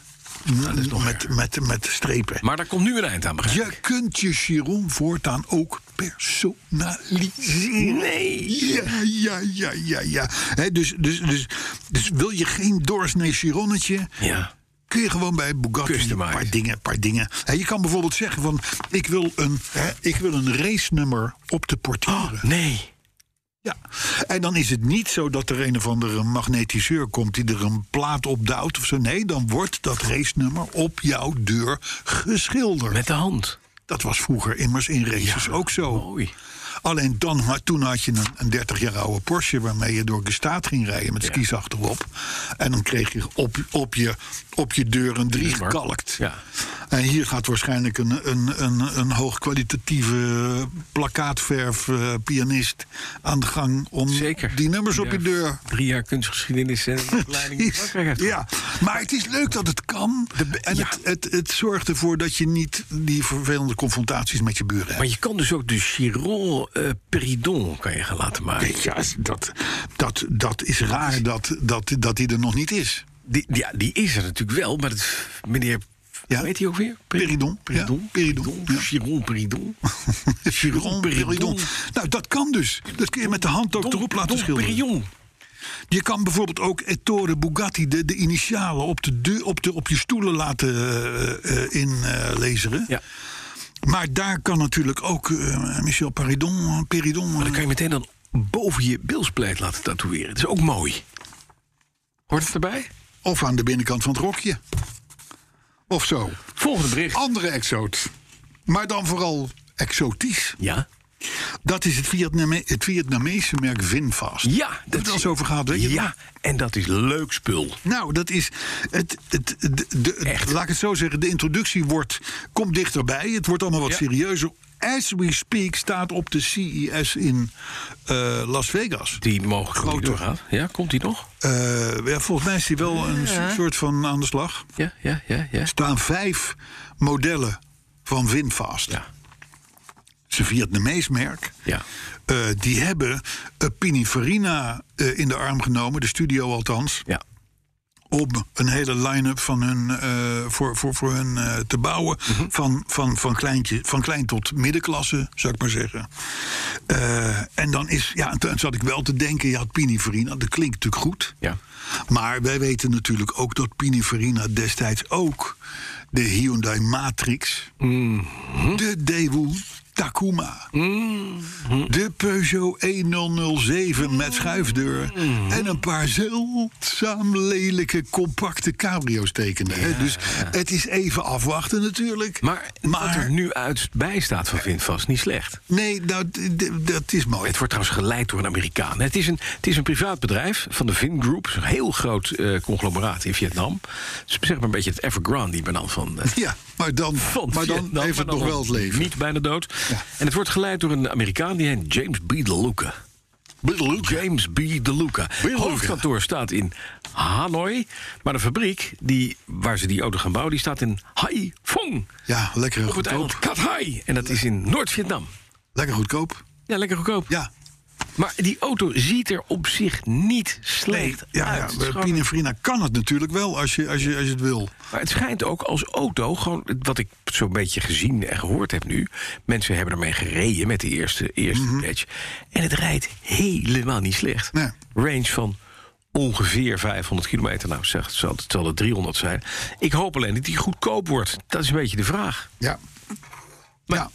B: met, met, met strepen.
C: Maar daar komt nu een eind aan, begrijp
B: Je
C: ik.
B: kunt je Chiron voortaan ook personaliseren.
C: Nee.
B: Ja, ja, ja, ja, ja. Hè, dus, dus, dus, dus wil je geen doorsnee Chironnetje...
C: Ja.
B: kun je gewoon bij Bugatti een
C: Customize.
B: paar dingen... een Paar dingen. Hè, je kan bijvoorbeeld zeggen
C: Oh.
B: van... ik wil een, hè, ik wil een race nummer op de portieren.
C: Nee.
B: Ja, en dan is het niet zo dat er een of andere magnetiseur komt die er een plaat op duwt of zo. Nee, dan wordt dat racenummer op jouw deur geschilderd.
C: Met de hand.
B: Dat was vroeger immers in races ook zo.
C: Mooi.
B: Alleen dan, had- toen had je een, een 30 jaar oude Porsche waarmee je door gestaat ging rijden met skis achterop. En dan kreeg je op, op, je, op je deur een 3
C: Nummer.
B: gekalkt.
C: Ja.
B: En hier gaat waarschijnlijk een, een, een, een hoogkwalitatieve plakkaatverfpianist pianist aan de gang om
C: Zeker.
B: die nummers op je deur.
C: Drie jaar kunstgeschiedenis en opleiding in
B: Precies.
C: Frankrijk heeft gehad.
B: Ja, maar het is leuk dat het kan. en het, het, het zorgt ervoor dat je niet die vervelende confrontaties met je buren hebt.
C: Maar je kan dus ook de Chiron eh, Peridon kan je gaan laten maken.
B: Ja, dat, dat, dat is raar dat, dat, dat die er nog niet is.
C: Die, die- ja, die is er natuurlijk wel, maar dat, meneer...
B: Ja.
C: Hoe heet hij ook weer?
B: Peridon, ja, Peridon, ja.
C: Chiron Peridon.
B: Chiron, Peridon. Nou, dat kan dus. Dat kun je met de hand ook erop laten
C: Don
B: schilderen.
C: Perignon.
B: Je kan bijvoorbeeld ook Ettore Bugatti, de, de initialen, op, de, deur- op, de, op je stoelen laten eh, eh, inlezeren.
C: Ja.
B: Maar daar kan natuurlijk ook eh, Michel Paridon, Peridon.
C: Maar dan kan je meteen dan boven je bilspleet laten tatoeëren. Dat is ook mooi. Hoort het erbij?
B: eh, Of aan de binnenkant van het rokje. Of zo.
C: Volgende bericht.
B: Andere exoot. Maar dan vooral exotisch.
C: Ja.
B: Dat is het, Vietname het Vietnamese merk Vinfast.
C: Ja.
B: Hebben we het wel eens over gehad, weet je?
C: Ja, en dat is leuk spul.
B: Nou, dat is. Het, het, de, de- Laat ik het zo zeggen. De introductie wordt, komt dichterbij. Het wordt allemaal wat serieuzer. As we speak staat op de CES in eh, Las Vegas.
C: Die mogelijk niet
B: Grote.
C: doorgaat. Ja, komt die nog?
B: Eh, ja, volgens mij is die wel een soort van aan de slag.
C: Ja, ja, ja, ja.
B: Er staan vijf modellen van Winfast.
C: Ja.
B: Het is een Vietnamees merk.
C: Ja.
B: Eh, die hebben eh, Pininfarina eh, in de arm genomen, de studio althans,
C: Ja.
B: om een hele line-up van hun, eh, voor, voor, voor hun eh, te bouwen. van, van, van, kleintje, van klein tot middenklasse, zou ik maar zeggen. Eh, en dan is, ja, en toen zat ik wel te denken, ja, Pininfarina, dat klinkt natuurlijk goed.
C: Ja.
B: Maar wij weten natuurlijk ook dat Pininfarina destijds ook de Hyundai Matrix,
C: Mhm.
B: de Daewoo Takuma,
C: Mhm.
B: de Peugeot E 1007 met schuifdeur
C: Mhm.
B: en een paar zeldzaam lelijke compacte cabrio's tekende. hè. Dus het is even afwachten natuurlijk.
C: Maar, wat er nu uit bij staat van Vinfast, niet slecht.
B: nee, nou, d- d- dat is mooi.
C: Het wordt trouwens geleid door een Amerikaan. Het is een, het is een privaat bedrijf van de Vin Group. Een heel groot eh, conglomeraat in Vietnam. Het is zeg maar een beetje het Evergrande banaan van... eh,
B: Ja, maar dan,
C: van
B: maar dan
C: Vietnam,
B: heeft het
C: maar
B: nog
C: dan
B: wel het leven.
C: Niet bijna dood.
B: Ja.
C: En het wordt geleid door een Amerikaan die heet James B. DeLuca. James B. DeLuca. Het hoofdkantoor staat in Hanoi. Maar de fabriek die, waar ze die auto gaan bouwen, die staat in Haiphong.
B: Ja, lekker en
C: Op het eiland
B: goedkoop.
C: Cat Hai. En dat is in Noord-Vietnam.
B: Lekker goedkoop.
C: Ja, lekker goedkoop.
B: Ja,
C: Maar die auto ziet er op zich niet slecht
B: Ja,
C: uit.
B: ja
C: Het is
B: bij
C: gewoon-
B: Pininfarina kan het natuurlijk wel als je, als je, als je het wil.
C: Maar het schijnt ook als auto, gewoon wat ik zo'n beetje gezien en gehoord heb nu. Mensen hebben ermee gereden met de eerste, eerste batch. En het rijdt helemaal niet slecht.
B: Nee.
C: Range van ongeveer 500 kilometer. Nou, zeg, het zal, het zal er 300 zijn. Ik hoop alleen dat die goedkoop wordt. Dat is een beetje de vraag.
B: Ja. ja.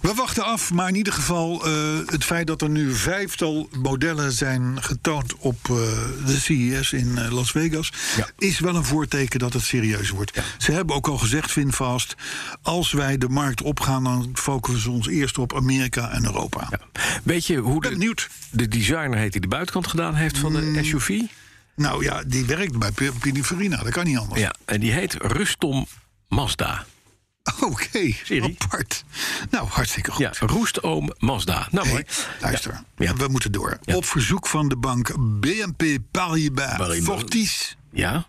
B: We wachten af, maar in ieder geval eh, het feit dat er nu vijftal modellen zijn getoond op eh, de CES in eh, Las Vegas,
C: Ja.
B: is wel een voorteken dat het serieus wordt. Ze hebben ook al gezegd, Vinfast, als wij de markt opgaan, dan focussen we ons eerst op Amerika en Europa.
C: Ja. Weet je hoe
B: ben
C: de,
B: benieuwd.
C: de designer heet die de buitenkant gedaan heeft van de SUV?
B: Nou ja, die werkt bij P- Pininfarina, dat kan niet anders.
C: Ja, en die heet Rustom Mazda.
B: Oké,
C: Serie.
B: apart. Nou, hartstikke goed.
C: Ja, Roestoom Mazda. Nou mooi.
B: Hey, luister,
C: Ja.
B: we moeten door.
C: Ja.
B: Op verzoek van de bank BNP Paribas,
C: Paribas.
B: Fortis
C: Ja?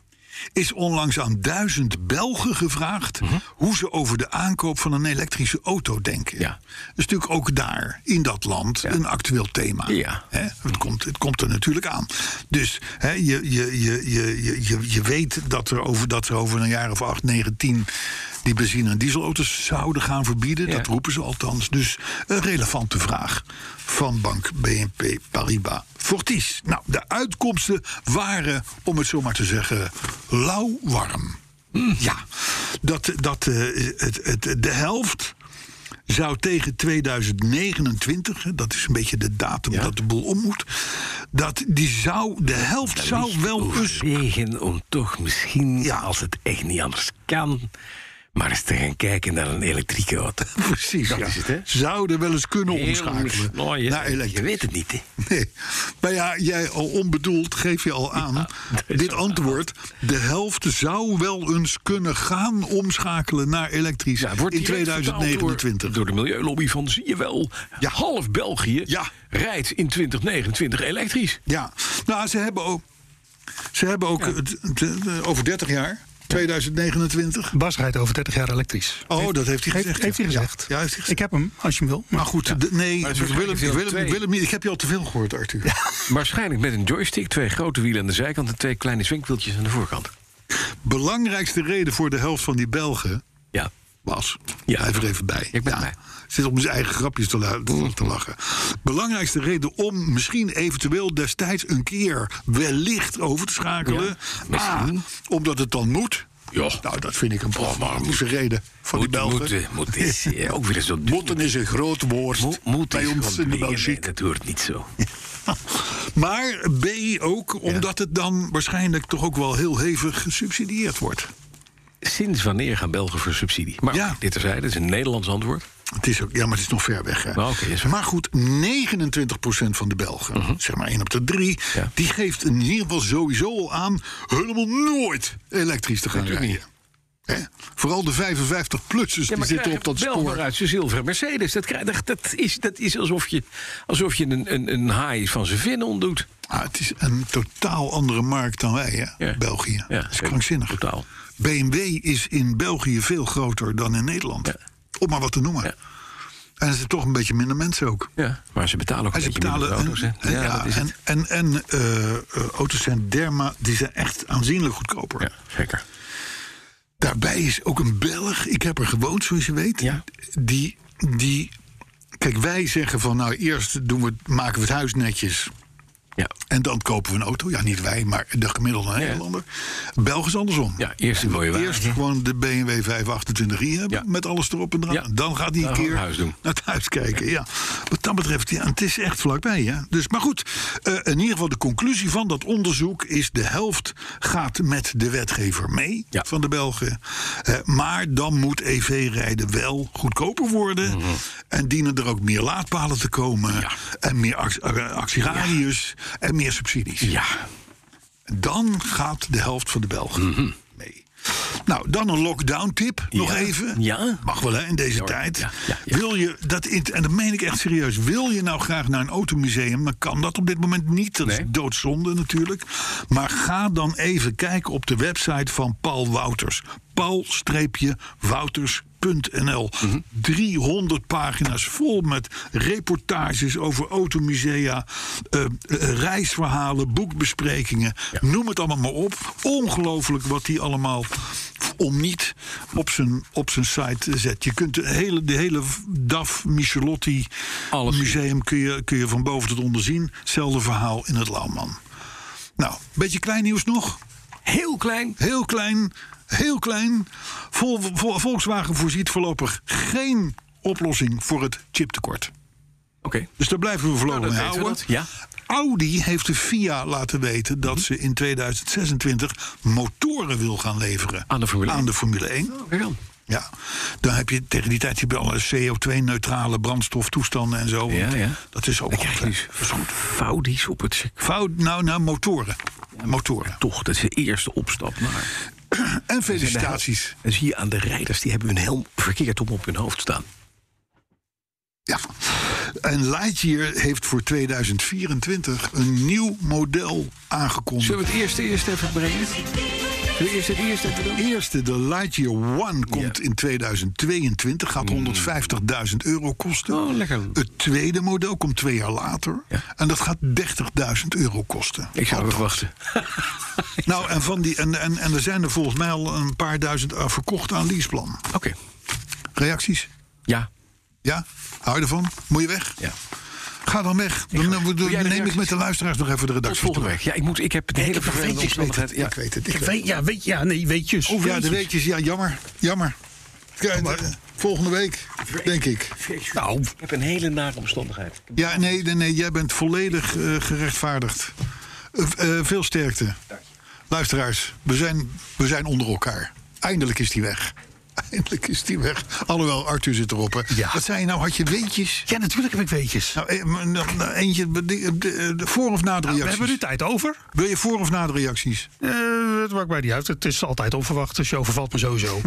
B: is onlangs aan duizend Belgen gevraagd...
C: Mhm.
B: hoe ze over de aankoop van een elektrische auto denken.
C: Ja.
B: Dat is natuurlijk ook daar, in dat land, een actueel thema.
C: Ja.
B: Hè, het, komt, het komt er natuurlijk aan. Dus hè, je, je, je, je, je, je, je weet dat er, over, dat er over een jaar of acht, negen, tien... die benzine- en dieselauto's zouden gaan verbieden.
C: Ja.
B: Dat roepen ze althans. Dus een relevante vraag van bank BNP Paribas Fortis. Nou, de uitkomsten waren, om het zo maar te zeggen, lauwwarm. Ja, dat, dat eh, het, het, de helft zou tegen 2029, hè, dat is een beetje de datum dat de boel om moet, dat die zou, de helft zou wel eens
C: Tegen om toch misschien,
B: Ja.
C: als het echt niet anders kan... maar eens te gaan kijken naar een elektrische auto.
B: Precies,
C: Dat
B: ja.
C: is het, hè?
B: Zouden wel eens kunnen
C: Heel
B: omschakelen
C: mis- nou, je,
B: naar
C: je
B: elektrisch.
C: weet het niet, hè.
B: Nee. Maar ja, jij al onbedoeld geef je al aan. dit antwoord, de helft zou wel eens kunnen gaan omschakelen naar elektrisch
C: Ja, het wordt
B: in
C: direct vertaald
B: 2029.
C: Door, door de milieulobby van zie je wel,
B: Ja.
C: half België
B: Ja.
C: rijdt in 2029 elektrisch.
B: Ja, nou, ze hebben ook, ze hebben ook het- het- het- over 30 jaar, 2029.
D: Bas rijdt over 30 jaar elektrisch.
B: Oh, dat heeft hij gezegd.
D: Heeft hij
B: ja.
D: gezegd. Nou,
B: Ja, heeft hij gezegd.
D: Ik heb hem, als je hem wil. Maar
B: maar goed, de- nee,
C: Maar het is
B: Willem, Willem,
C: waarschijnlijk veel
B: Willem,
C: twee.
B: ik heb je al te veel gehoord, Arthur.
C: Waarschijnlijk met een joystick, twee grote wielen aan de zijkant... en twee kleine zwinkwieltjes aan de voorkant.
B: Belangrijkste reden voor de helft van die Belgen
C: Ja.
B: was.
C: Ja.
B: Blijf er even bij.
C: Ik ben erbij.
B: Zit op zijn eigen grapjes te, lu- te- te lachen. Belangrijkste reden om misschien eventueel destijds een keer wellicht over te schakelen. A, omdat het dan moet.
C: Ja. Oh,
B: Nou, dat vind ik een prachtige reden van die
C: Moet,
B: Belgen.
C: moet, eh, moet is eh, ook weer zo duur.
B: Moeten is een groot woord
C: Mo- moet
B: bij
C: is
B: ons
C: gewoon
B: in de
C: dwingen.
B: Belgiek.
C: Nee, dat hoort niet zo.
B: Maar B ook omdat het dan waarschijnlijk toch ook wel heel hevig gesubsidieerd wordt.
C: Sinds wanneer gaan Belgen voor subsidie? Maar
B: Ja.
C: dit terzijde, dat is een Nederlands antwoord.
B: Het is ook, ja, maar het is nog ver weg. Hè.
C: Nou, oké, is waar.
B: maar goed, 29% van de Belgen, zeg maar 1 op de 3,
C: Ja.
B: die geeft in ieder geval sowieso al aan helemaal nooit elektrisch te gaan
C: Natuurlijk
B: rijden. Hè? Vooral de 55-plussers die zitten op dat
C: Bel maar
B: spoor.
C: uit zijn zilveren Mercedes. Dat, krijg, dat, dat is, dat is alsof je, alsof je een, een, een haai van zijn vin ontdoet.
B: Ah, het is een totaal andere markt dan wij, hè?
C: Ja.
B: België.
C: Ja,
B: dat is
C: zeker.
B: krankzinnig.
C: Totaal.
B: BMW is in België veel groter dan in Nederland.
C: Ja.
B: Om maar wat te noemen.
C: Ja.
B: En er zitten toch een beetje minder mensen ook.
C: Ja, maar ze betalen ook
B: En
C: een
B: ze
C: beetje betalen,
B: betalen.
C: minder voor auto's.
B: en,
C: hè? Ja,
B: ja,
C: dat is
B: en,
C: het.
B: en, en eh, eh, auto's zijn derma, die zijn echt aanzienlijk goedkoper.
C: Ja, zeker.
B: Daarbij is ook een Belg, ik heb er gewoond zoals je weet,
C: Ja.
B: die, die. Kijk, wij zeggen van nou eerst doen we, het- maken we het huis netjes.
C: Ja.
B: En dan kopen we een auto. Ja, niet wij, maar de gemiddelde Nederlander. Belg is andersom.
C: ja, eerst een mooie wagen.
B: Eerst gewoon de BMW 528i hebben,
C: Ja.
B: met alles erop en eraan.
C: Ja.
B: Dan gaat hij een
C: Dan gaan we
B: keer
C: het huis doen.
B: naar het huis kijken. Ja. Wat dat betreft, ja, het is echt vlakbij. Hè? Dus, maar goed, eh, in ieder geval de conclusie van dat onderzoek is... de helft gaat met de wetgever mee
C: Ja.
B: van de Belgen. Eh, maar dan moet EV-rijden wel goedkoper worden. En dienen er ook meer laadpalen te komen.
C: Mhm. Ja.
B: En meer ac- eh, actieradius en meer subsidies.
C: Ja,
B: Dan gaat de helft van de Belgen mee. Nou, dan een lockdown-tip nog
C: Mhm. Ja.
B: even.
C: Ja.
B: Mag wel, hè, in deze
C: hoor.
B: tijd.
C: Ja, ja, ja.
B: Wil je dat, in- en dat meen ik echt serieus. Wil je nou graag naar een automuseum, dan kan dat op dit moment niet. Dat is
C: Nee.
B: doodzonde natuurlijk. Maar ga dan even kijken op de website van Paul Wouters. Paul-Wouters.nl.
C: Mhm.
B: 300 pagina's vol met reportages over automusea, eh, eh, reisverhalen, boekbesprekingen. Noem het allemaal maar op. Ongelooflijk wat die allemaal om niet op zijn, op zijn site zet. Je kunt de hele, de hele DAF Michelotti
C: Alles zien.
B: museum kun je, kun je van boven tot onder zien. Hetzelfde verhaal in het Lauwman. Nou, beetje klein nieuws nog.
C: heel klein.
B: Heel klein, heel klein. Vol, vol- Volkswagen voorziet voorlopig geen oplossing voor het chiptekort.
C: Oké.
B: Dus daar blijven we voorlopig
C: Nou,
B: mee
C: dat weten we
B: houden.
C: dat, Mhm.
B: Audi heeft de FIA laten weten dat ze in 2026 motoren wil gaan leveren.
C: Aan de Formule 1.
B: Aan de Formule 1.
C: Kijk dan.
B: Ja, dan heb je tegen die tijd heb je alle CO2-neutrale brandstoftoestanden en zo.
C: Ja,
B: Want
C: ja.
B: Dat is ook
C: Dan krijg
B: goed,
C: je
B: hè.
C: dus foutisch op het circuit.
B: Fout, nou, nou, motoren. Motoren.
C: Toch, dat is de eerste opstap naar.
B: En felicitaties.
C: En zie je aan de rijders, die hebben hun helm verkeerd om op hun hoofd staan.
B: Ja. En Lightyear heeft voor 2024 een nieuw model aangekondigd.
C: Zullen we het eerste eerst even brengen? Zullen we eerst het eerste even doen?
B: De eerste, de Lightyear One, komt
C: Ja. Mm.
B: in 2022. Gaat 150.000 euro kosten.
C: Oh, lekker.
B: Het tweede model komt twee jaar later.
C: Ja.
B: En dat gaat 30.000 euro kosten.
C: Ik zou even wachten.
B: Nou, en, van die, en, en, en er zijn er volgens mij al een paar duizend eh, verkocht aan leaseplan.
C: Oké.
B: Reacties?
C: Ja.
B: Ja? Hou je ervan? Moet je weg?
C: ja.
B: Ga dan weg. Dan, eh, we-
C: Doe jij de
B: neem ik
C: reacties?
B: met de luisteraars nog even de
C: Tot
B: redactie.
C: volgende week. Ja, ik, moet, ik heb de hele
B: heb nog
C: vervelende
B: weetjes,
C: omstandigheid.
B: weet het. Ik weet het. Ik
D: weet, ja, weet, ja, nee, weetjes.
B: toe. Ja, de weetjes. Ja, jammer. Jammer. Ja, eh, volgende week, denk ik.
C: Nou, ik heb een hele nare omstandigheid.
B: Ja, nee, nee, nee jij bent volledig eh, gerechtvaardigd. Eh, eh, veel sterkte. Luisteraars, we zijn, we zijn onder elkaar. Eindelijk is die weg. Eindelijk is die weg. Alhoewel, Arthur zit erop. Hè.
E: Ja.
B: Wat zei je nou? Had je weetjes?
E: Ja, natuurlijk heb ik weetjes.
B: Nou, eh, maar, nou, nou, eentje, be- de- de- de- voor of na de
D: Nou, We hebben nu
B: reacties?
D: tijd over.
B: Wil je voor of na de reacties?
D: Eh het maakt mij niet uit. Het is altijd onverwacht. De show vervalt me sowieso.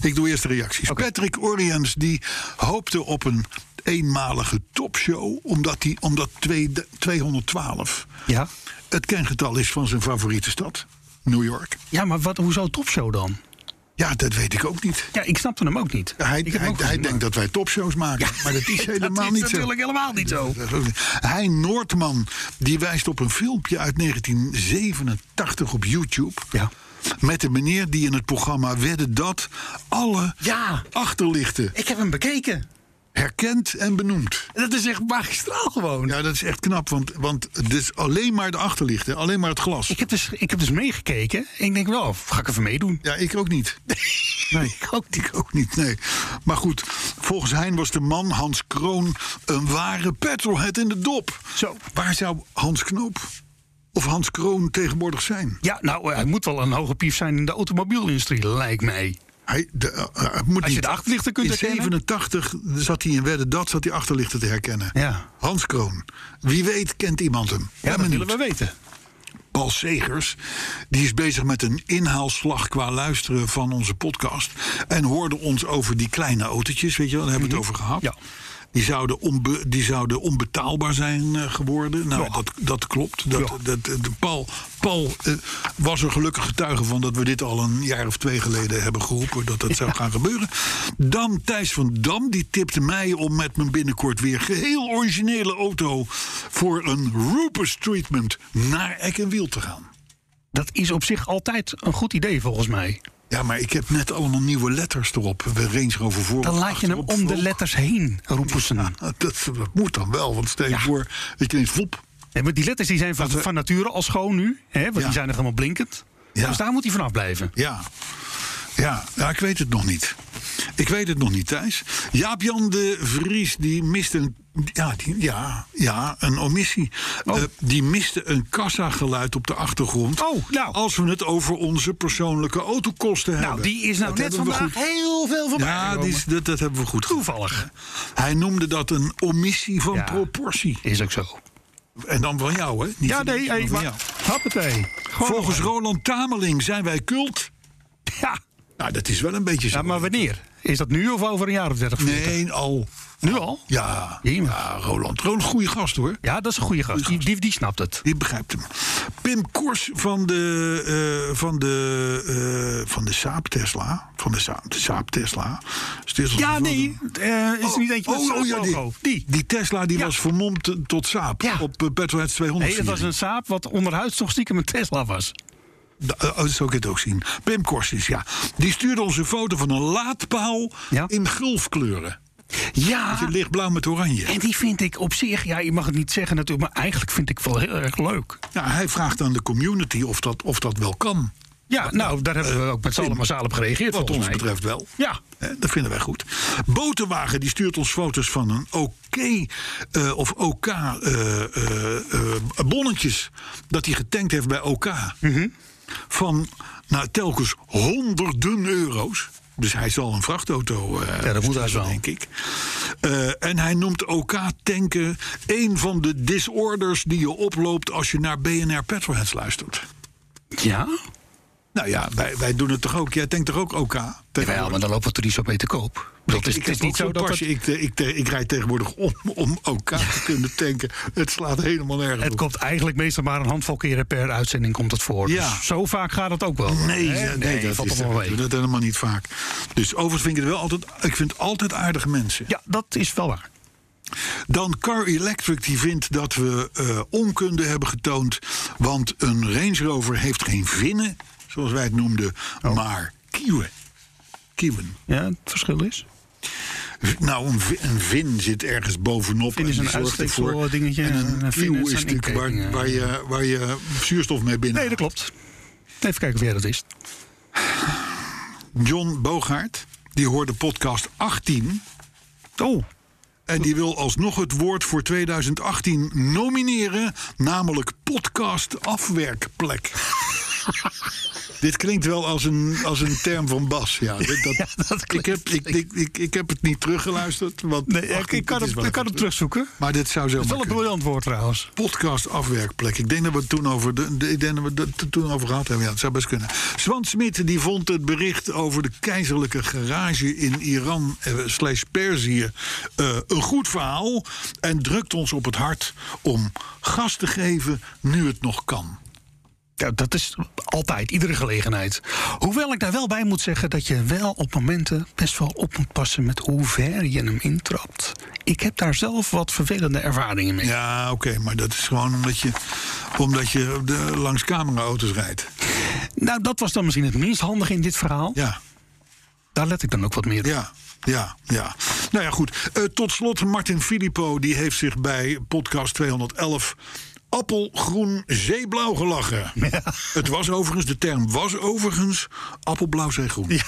B: Ik doe eerst de reacties. Patrick Oriens die hoopte op een eenmalige topshow... omdat, die, omdat twee- 212
D: ja.
B: het kengetal is van zijn favoriete stad, New York.
D: ja, maar wat, hoezo topshow dan?
B: Ja, dat weet ik ook niet.
D: Ja, ik snapte hem ook niet.
B: Hij,
D: ik heb
B: hij,
D: hem ook
B: hij
D: gezien,
B: denkt dat wij topshows maken, maar dat is helemaal
D: dat is
B: niet zo.
D: natuurlijk helemaal niet zo.
B: Dat is ook niet. Hij Noordman, die wijst op een filmpje uit 1987 op YouTube.
D: Ja.
B: Met een meneer die in het programma wedde dat alle
D: Ja.
B: achterlichten
D: Ik heb hem bekeken.
B: herkent en benoemd.
D: Dat is echt magistraal gewoon.
B: Ja, dat is echt knap, want, want het is alleen maar de achterlichten, alleen maar het glas.
D: Ik heb, dus, ik heb dus meegekeken. En ik denk wel, ga ik even meedoen?
B: Ja, ik ook niet. Nee, ik ook, ik ook niet, nee. Maar goed, volgens Hein was de man, Hans Kroon, een ware petrolhead in de dop.
D: Zo.
B: Waar zou Hans Knoop of Hans Kroon tegenwoordig zijn?
D: Ja, nou, hij moet wel een hoge pief zijn in de automobielindustrie, lijkt mij.
B: Hij, de, eh, eh, het moet
D: Als je
B: niet-
D: de achterlichten kunt
B: in
D: herkennen.
B: 87 zat hij in Wedden Dat, zat hij achterlichten te herkennen.
D: Ja.
B: Hans Kroon. Wie weet kent iemand hem.
D: Ja,
B: Ben
D: dat
B: benieuwd.
D: willen we weten.
B: Paul Segers. Die is bezig met een inhaalslag qua luisteren van onze podcast. En hoorde ons over die kleine autootjes, weet je wel, daar hebben we het over gehad.
D: Ja.
B: Die zouden, onbe- die zouden onbetaalbaar zijn eh, geworden. Nou, dat, dat klopt. Dat,
D: Ja.
B: dat, eh, de Paul, Paul eh, was er gelukkig getuige van dat we dit al een jaar of twee geleden hebben geroepen. Dat dat zou gaan gebeuren. Dan Thijs van Dam, die tipte mij om met mijn binnenkort weer geheel originele auto. voor een Rupert treatment naar Eck en Wiel te gaan.
D: Dat is op zich altijd een goed idee, volgens mij.
B: Ja, maar ik heb net allemaal nieuwe letters erop. We Range Rover voor.
D: Dan laat je hem
B: achterop,
D: om de
B: voor-
D: letters heen roepen. ze.
B: Dat, dat moet dan wel, want stel je voor dat je ineens vlop.
D: Nee, maar die letters die zijn van,
B: Dat we-
D: van nature al schoon nu. Hè, want
B: Ja.
D: die zijn er helemaal blinkend.
B: Ja.
D: Dus daar moet hij vanaf blijven.
B: Ja. Ja, ja, ik weet het nog niet. Ik weet het nog niet, Thijs. Jaap-Jan de Vries, die miste een... Ja, die, ja, ja een omissie. Eh, die miste een kassageluid op de achtergrond.
D: Oh, nou.
B: Als we het over onze persoonlijke autokosten
D: Nou,
B: hebben.
D: die is nou
B: Dat
D: net
B: hebben we
D: vandaag
B: goed-
D: heel veel voorbij
B: Ja, die
D: gekomen.
B: is, dat, dat hebben we goed
D: Toevallig.
B: Hij noemde dat een omissie van
D: Ja.
B: proportie.
D: Is ook zo.
B: En dan van jou, hè? Niet
D: ja,
B: van
D: nee,
B: ons,
D: hey,
B: maar van
D: maar...
B: jou.
D: Hoppatee. Gewoon
B: Volgens
D: nog
B: Roland Tameling zijn wij cult.
D: een. Ja.
B: Nou, dat is wel een beetje zo.
D: ja, maar wanneer? Is dat nu of over een jaar of dertig?
B: Nee, al.
D: Nu al?
B: Ja,
D: Jemig.
B: ja Roland. Roland, goede gast hoor.
D: Ja, dat is een goede gast. Die, die, die snapt het.
B: Die begrijpt hem. Pim Kors van de, eh, van de, eh, van de Saab Tesla. Van de Saab, de Saab Tesla. Dus het is als
D: Ja,
B: een-
D: nee. eh, is er niet eentje met
B: Oh,
D: zo'n
B: oh, ja,
D: logo?
B: die, die Tesla die
D: Ja.
B: was vermomd eh, tot Saab.
D: Ja.
B: Op eh, Petrolheads 200.
D: Nee, dat was een saap wat onderhuids toch stiekem een Tesla was.
B: Da- eh, oh, zo kun je het ook zien. Pim Kors is, ja. Die stuurde ons een foto van een laadpaal
D: Ja. Ah.
B: in gulfkleuren.
D: Ja,
B: Je lichtblauw met oranje.
D: en die vind ik op zich... Ja, je mag het niet zeggen natuurlijk, maar eigenlijk vind ik wel heel erg leuk.
B: Nou, hij vraagt aan de community of dat, of dat wel kan.
D: Ja, nou, daar hebben we ook met z'n allen massaal op gereageerd,
B: Wat
D: volgens
B: ons
D: mij.
B: betreft wel.
D: Ja.
B: Hè, Dat vinden wij goed. Botenwagen die stuurt ons foto's van een OK eh, of OK eh, eh, eh, bonnetjes dat hij getankt heeft bij OK.
D: Mhm.
B: Van nou, telkens honderden euro's. Dus hij zal een vrachtauto. eh,
D: dat moet
B: besturen,
D: hij wel.
B: Denk ik. Eh, en hij noemt OK tanken een van de disorders die je oploopt als je naar BNR Petrolheads luistert.
D: Ja?
B: Nou ja, wij, wij doen het toch ook. Jij denkt toch ook OK?
D: Jawel, maar dan lopen we er niet zo mee te koop. Dat is,
B: Ik heb
D: het is
B: ook
D: niet zo
B: zo'n
D: dat
B: pasje. Ik,
D: het,
B: eh, ik, eh, ik rijd tegenwoordig om, om OK te kunnen tanken. Het slaat helemaal nergens
D: het
B: op.
D: komt eigenlijk meestal maar een handvol keren per uitzending komt het voor.
B: Ja.
D: Dus zo vaak gaat het ook wel.
B: Nee,
D: Hè?
B: nee, dat
D: valt
B: is
D: toch wel
B: ik doe
D: mee.
B: dat helemaal niet vaak. Dus overigens vind ik het wel altijd... Ik vind altijd aardige mensen.
D: Ja, dat is wel waar.
B: Dan Car Electric die vindt dat we eh, onkunde hebben getoond. Want een Range Rover heeft geen vinnen, zoals wij het noemden.
D: Oh.
B: Maar kieuwen. Kieuwen.
D: Ja, het verschil is.
B: Nou, een, vi- een vin zit ergens bovenop.
D: Vin is
B: en die
D: een
B: zorgt ervoor.
D: uitsteeksel dingetje
B: En
D: en
B: een
D: een vin
B: kieuw is
D: is een
B: natuurlijk waar,
D: inkeping,
B: waar, je, waar je zuurstof mee binnen.
D: Nee, dat klopt. Even kijken of jij dat is.
B: John Boogaard die hoorde podcast 18.
D: Oh,
B: En die wil alsnog het woord voor 2018 nomineren, namelijk podcast afwerkplek. Dit klinkt wel als een, als een term van Bas. Ja, dit- dat, ik, heb, ik, ik, ik, ik heb het niet teruggeluisterd. Want
D: nee, ik,
B: 18,
D: ik kan
B: dit is
D: het,
B: wel
D: ik kan
B: even-
D: het terugzoeken.
B: Maar dit zou zo.
D: Wel een briljant woord trouwens.
B: Podcast afwerkplek. Ik denk dat we het toen over, de, de- ik denk dat we het er toen over gehad hebben. Ja, het zou best kunnen. Swan Smit die vond het bericht over de keizerlijke garage in Iran eh, slash Perzië eh, een goed verhaal. En drukt ons op het hart om gas te geven nu het nog kan.
D: Ja, dat is altijd, iedere gelegenheid. Hoewel ik daar wel bij moet zeggen dat je wel op momenten best wel op moet passen met hoe ver je hem intrapt. Ik heb daar zelf wat vervelende ervaringen mee.
B: Ja, oké, maar dat is gewoon omdat je, omdat je de, langs cameraauto's rijdt.
D: Nou, dat was dan misschien het minst handige in dit verhaal.
B: Ja.
D: Daar let ik dan ook wat meer op.
B: Ja, ja, ja. Nou ja, goed. Eh, tot slot, Martin Filippo die heeft zich bij podcast 211 appelgroen zeeblauw gelachen. Het was overigens, de term was overigens appelblauw zeegroen.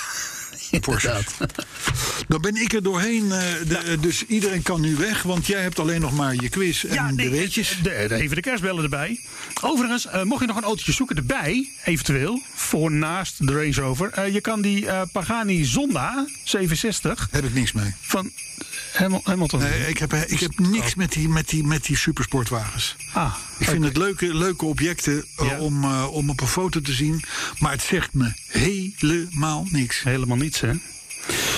B: Porsche. Dan ben ik er doorheen, eh, de- dus iedereen kan nu weg, want jij hebt alleen nog maar je quiz en
D: Ja,
B: de
D: nee,
B: weetjes.
D: de- de- even de kerstbellen erbij. Overigens, eh, mocht je nog een autootje zoeken erbij, eventueel, voor naast de Range Rover. eh, je kan die eh, Pagani Zonda 67
B: Heb ik niks mee.
D: van Hamil- Hamilton.
B: Nee, ik heb, eh, ik heb niks met die, met, die, met die supersportwagens.
D: Ah,
B: Ik vind het leuke, leuke objecten eh,
D: Ja.
B: om, eh, om op een foto te zien. Maar het zegt me helemaal niks.
D: helemaal niets, hè?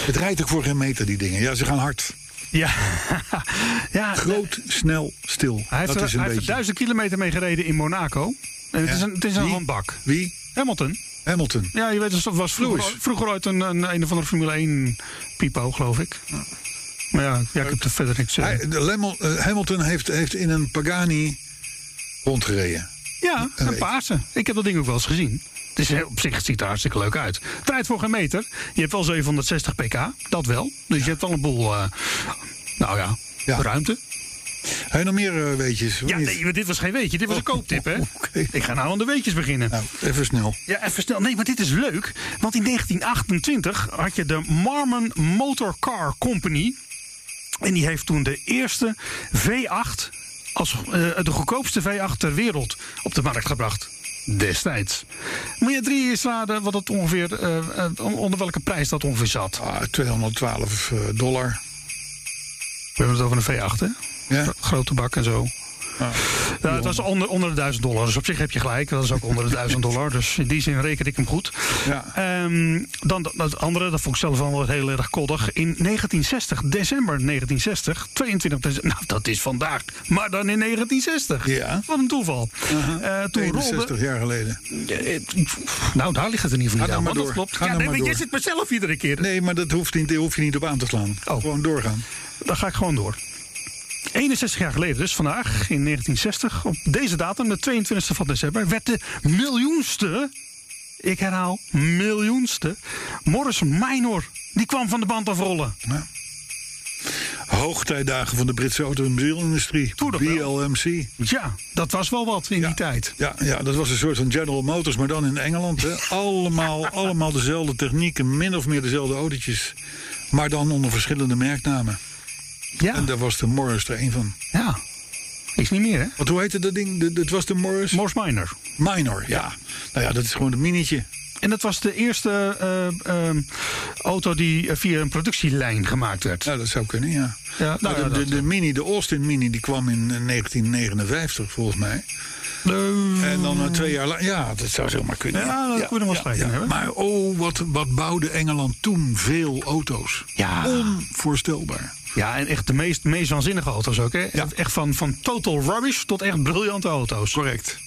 B: Het rijdt ook voor geen meter, die dingen. Ja, ze gaan hard.
D: Ja, ja
B: Groot, snel, stil.
D: hij heeft,
B: dat
D: er,
B: is een
D: hij heeft er
B: beetje.
D: duizend kilometer mee gereden in Monaco. En het
B: Ja.
D: is een, het is een
B: Wie?
D: handbak.
B: Wie?
D: Hamilton.
B: Hamilton.
D: Ja, je weet dus, dat was vroeger,
B: Lewis.
D: vroeger ooit een, een, een of andere Formule 1 pipo, geloof ik. Maar ja, ja ik heb er verder niks eh,
B: Hij- de Lemmel- eh, Hamilton heeft, heeft in een Pagani rondgereden.
D: Ja, een
B: week.
D: paarse. Ik heb dat ding ook wel eens gezien. Het is, heel- op zich het ziet er hartstikke leuk uit. Het rijdt voor geen meter. Je hebt wel 760 pk, dat wel. Dus je hebt al een boel, eh, nou ja,
B: Ja.
D: ruimte.
B: Heb je nog meer eh, weetjes? of
D: Ja,
B: niet?
D: nee, maar dit was geen weetje, dit was een kooptip, hè?
B: Oké.
D: Ik ga nou aan de weetjes beginnen.
B: Nou, even snel.
D: Ja, even snel. Nee, maar dit is leuk. Want in 1928 had je de Marmon Motor Car Company. En die heeft toen de eerste V8, als, eh, de goedkoopste V8 ter wereld, op de markt gebracht. Destijds. Moet je drie eens raden wat het ongeveer, eh, eh, onder welke prijs dat ongeveer zat.
B: Ah, 212 eh, dollar.
D: We hebben het over een V8, hè?
B: Ja.
D: Grote bak en zo. Ja, het was onder, onder de 1000 dollar, dus op zich heb je gelijk. Dat is ook onder de 1000 dollar, dus in die zin reken ik hem goed.
B: Ja.
D: Ehm, dan dat, dat andere, dat vond ik zelf al wel heel erg koddig. In 1960, december 1960, 22 december, nou dat is vandaag, maar dan in 1960.
B: Ja. Uh-huh.
D: Wat een toeval. Eh, toen rolde...
B: 61 jaar geleden.
D: Nou, daar ligt het in ieder
B: Ga
D: geval niet
B: nou
D: aan,
B: maar
D: want dat
B: door.
D: klopt.
B: Ga
D: ja,
B: nou
D: nee,
B: maar
D: maar jij
B: door.
D: zit mezelf iedere keer.
B: Nee, maar dat hoeft niet, daar hoef je niet op aan te slaan.
D: Oh.
B: Gewoon doorgaan.
D: Dan ga ik gewoon door. 61 jaar geleden, dus vandaag in 1960, op deze datum, de 22e van december, werd de miljoenste, ik herhaal, miljoenste, Morris Minor, die kwam van de band afrollen.
B: Hoogtijdagen van de Britse automobielindustrie.
D: Toen nog wel.
B: BLMC.
D: Ja, dat was wel wat in die tijd.
B: Ja, ja, dat was een soort van General Motors, maar dan in Engeland. Hè. Allemaal, allemaal dezelfde technieken, min of meer dezelfde autootjes. Maar dan onder verschillende merknamen.
D: Ja,
B: En daar was de Morris er een van.
D: ja. Is niet meer, hè?
B: Wat, hoe heette dat ding? De- Het was de Morris
D: Morris Minor.
B: Minor, ja. Nou ja, dat is gewoon een minietje.
D: En dat was de eerste eh, ehm, auto die eh, via een productielijn gemaakt werd.
B: Nou, dat zou kunnen, ja.
D: Ja, nou
B: Maar
D: ja,
B: de, de,
D: dat,
B: de Mini, de Austin Mini, die kwam in eh, 1959 volgens mij. En dan eh, twee jaar later. Ja, dat zou zomaar kunnen.
D: Ja, dat kunnen we wel
B: ja,
D: spreken hebben.
B: Maar oh, wat, wat bouwde Engeland toen veel auto's. Ah,
D: Ja.
B: Onvoorstelbaar.
D: Ja, en echt de meest, meest waanzinnige auto's ook, hè?
B: Ja.
D: Echt van, van total rubbish tot echt briljante auto's.
B: Correct.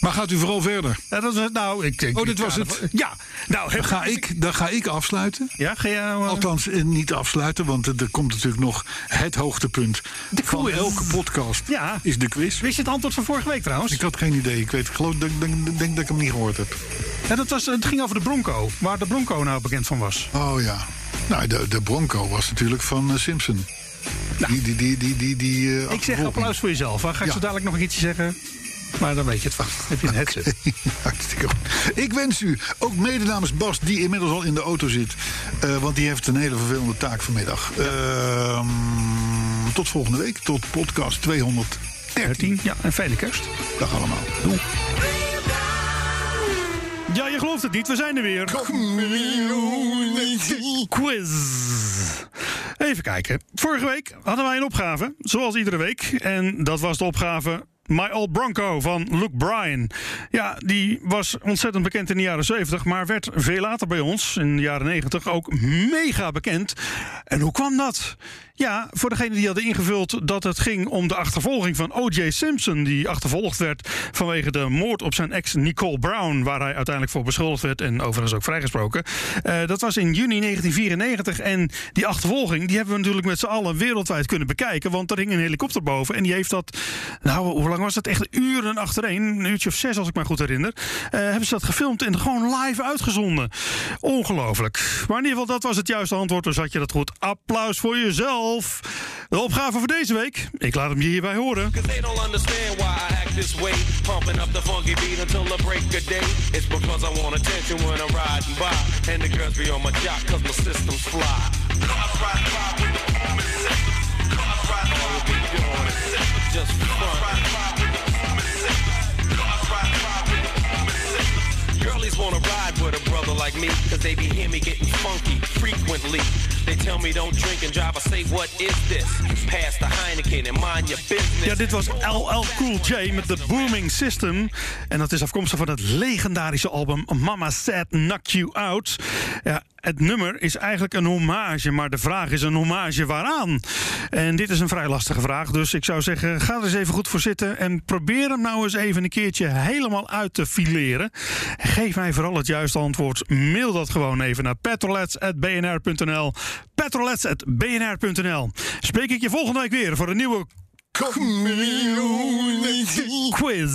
B: Maar gaat u vooral verder.
D: Ja, dat was, nou, ik, ik-
B: Oh, dit
D: ik-
B: was
D: ja,
B: het.
D: dat- Ja, nou, heb,
B: Ga ik, dan ga ik afsluiten.
D: Ja, ga jij nou, eh,
B: Althans, eh, niet afsluiten, want eh, er komt natuurlijk nog het hoogtepunt.
D: De
B: van
D: quiz.
B: elke podcast
D: Ja.
B: is de quiz.
D: Wist je het antwoord van vorige week trouwens?
B: Ik had geen idee. Ik weet, ik geloof, denk, denk, denk dat ik hem niet gehoord heb.
D: Ja, dat was, het ging over de Bronco, waar de Bronco nou bekend van was.
B: Oh ja. Nou, de, de Bronco was natuurlijk van eh, Simpson. Die, die, die, die, die, die, eh,
D: Nou. ik zeg
B: achtervolging.
D: applaus voor jezelf. hè. Ga ik
B: Ja.
D: zo dadelijk nog een keertje zeggen? Maar dan weet je het van. Heb je een headset.
B: Hartstikke goed. Ik wens u, ook mede namens Bas, die inmiddels al in de auto zit... eh, want die heeft een hele vervelende taak vanmiddag. Ehm, tot volgende week, tot podcast 213.
D: 13. Ja, en fijne kerst.
B: Dag allemaal. Doei.
D: Ja, je gelooft het niet. We zijn er weer. Quiz. Even kijken. Vorige week hadden wij een opgave, zoals iedere week. En dat was de opgave My Old Bronco van Luke Bryan. Ja, die was ontzettend bekend in de jaren 70, maar werd veel later bij ons, in de jaren 90, ook mega bekend. En hoe kwam dat? Ja, voor degenen die hadden ingevuld dat het ging om de achtervolging van O.J. Simpson, die achtervolgd werd vanwege de moord op zijn ex Nicole Brown, waar hij uiteindelijk voor beschuldigd werd en overigens ook vrijgesproken. Eh, dat was in juni 1994 en die achtervolging die hebben we natuurlijk met z'n allen wereldwijd kunnen bekijken, want er hing een helikopter boven en die heeft dat, nou hoe lang was dat? Echt uren achtereen, een uurtje of zes als ik me goed herinner, eh, hebben ze dat gefilmd en gewoon live uitgezonden. Ongelooflijk. Maar in ieder geval, dat was het juiste antwoord, dus had je dat goed. Applaus voor jezelf. De opgave voor deze week, ik laat hem je hierbij horen.
E: Cause they don't understand why I act this way. Pumping up the funky beat until the break of day. It's because I want attention when I'm riding by. And the girls be on my jock cause my system's fly. Cars ride by with the arm and sickles. Cars ride by with the arm and sickles. Just for fun. Cars ride by with the arm and sickles. Cars ride by with the arm and sickles. Girlies wanna ride with a brother like me, cause they be hear me getting funky frequently. They tell me don't drink and drive, I say what is this? Pass the Heineken and mind your business.
D: Ja, dit was LL Cool J met de Booming System. En dat is afkomstig van het legendarische album Mama Said Knock You Out. Ja, het nummer is eigenlijk een hommage, maar de vraag is een hommage waaraan? En dit is een vrij lastige vraag, dus ik zou zeggen... ga er eens even goed voor zitten en probeer hem nou eens even een keertje helemaal uit te fileren. Geef mij vooral het juiste antwoord. Mail dat gewoon even naar petrolets.bnr.nl petrolets.bnr.nl Spreek ik je volgende week weer voor een nieuwe quiz.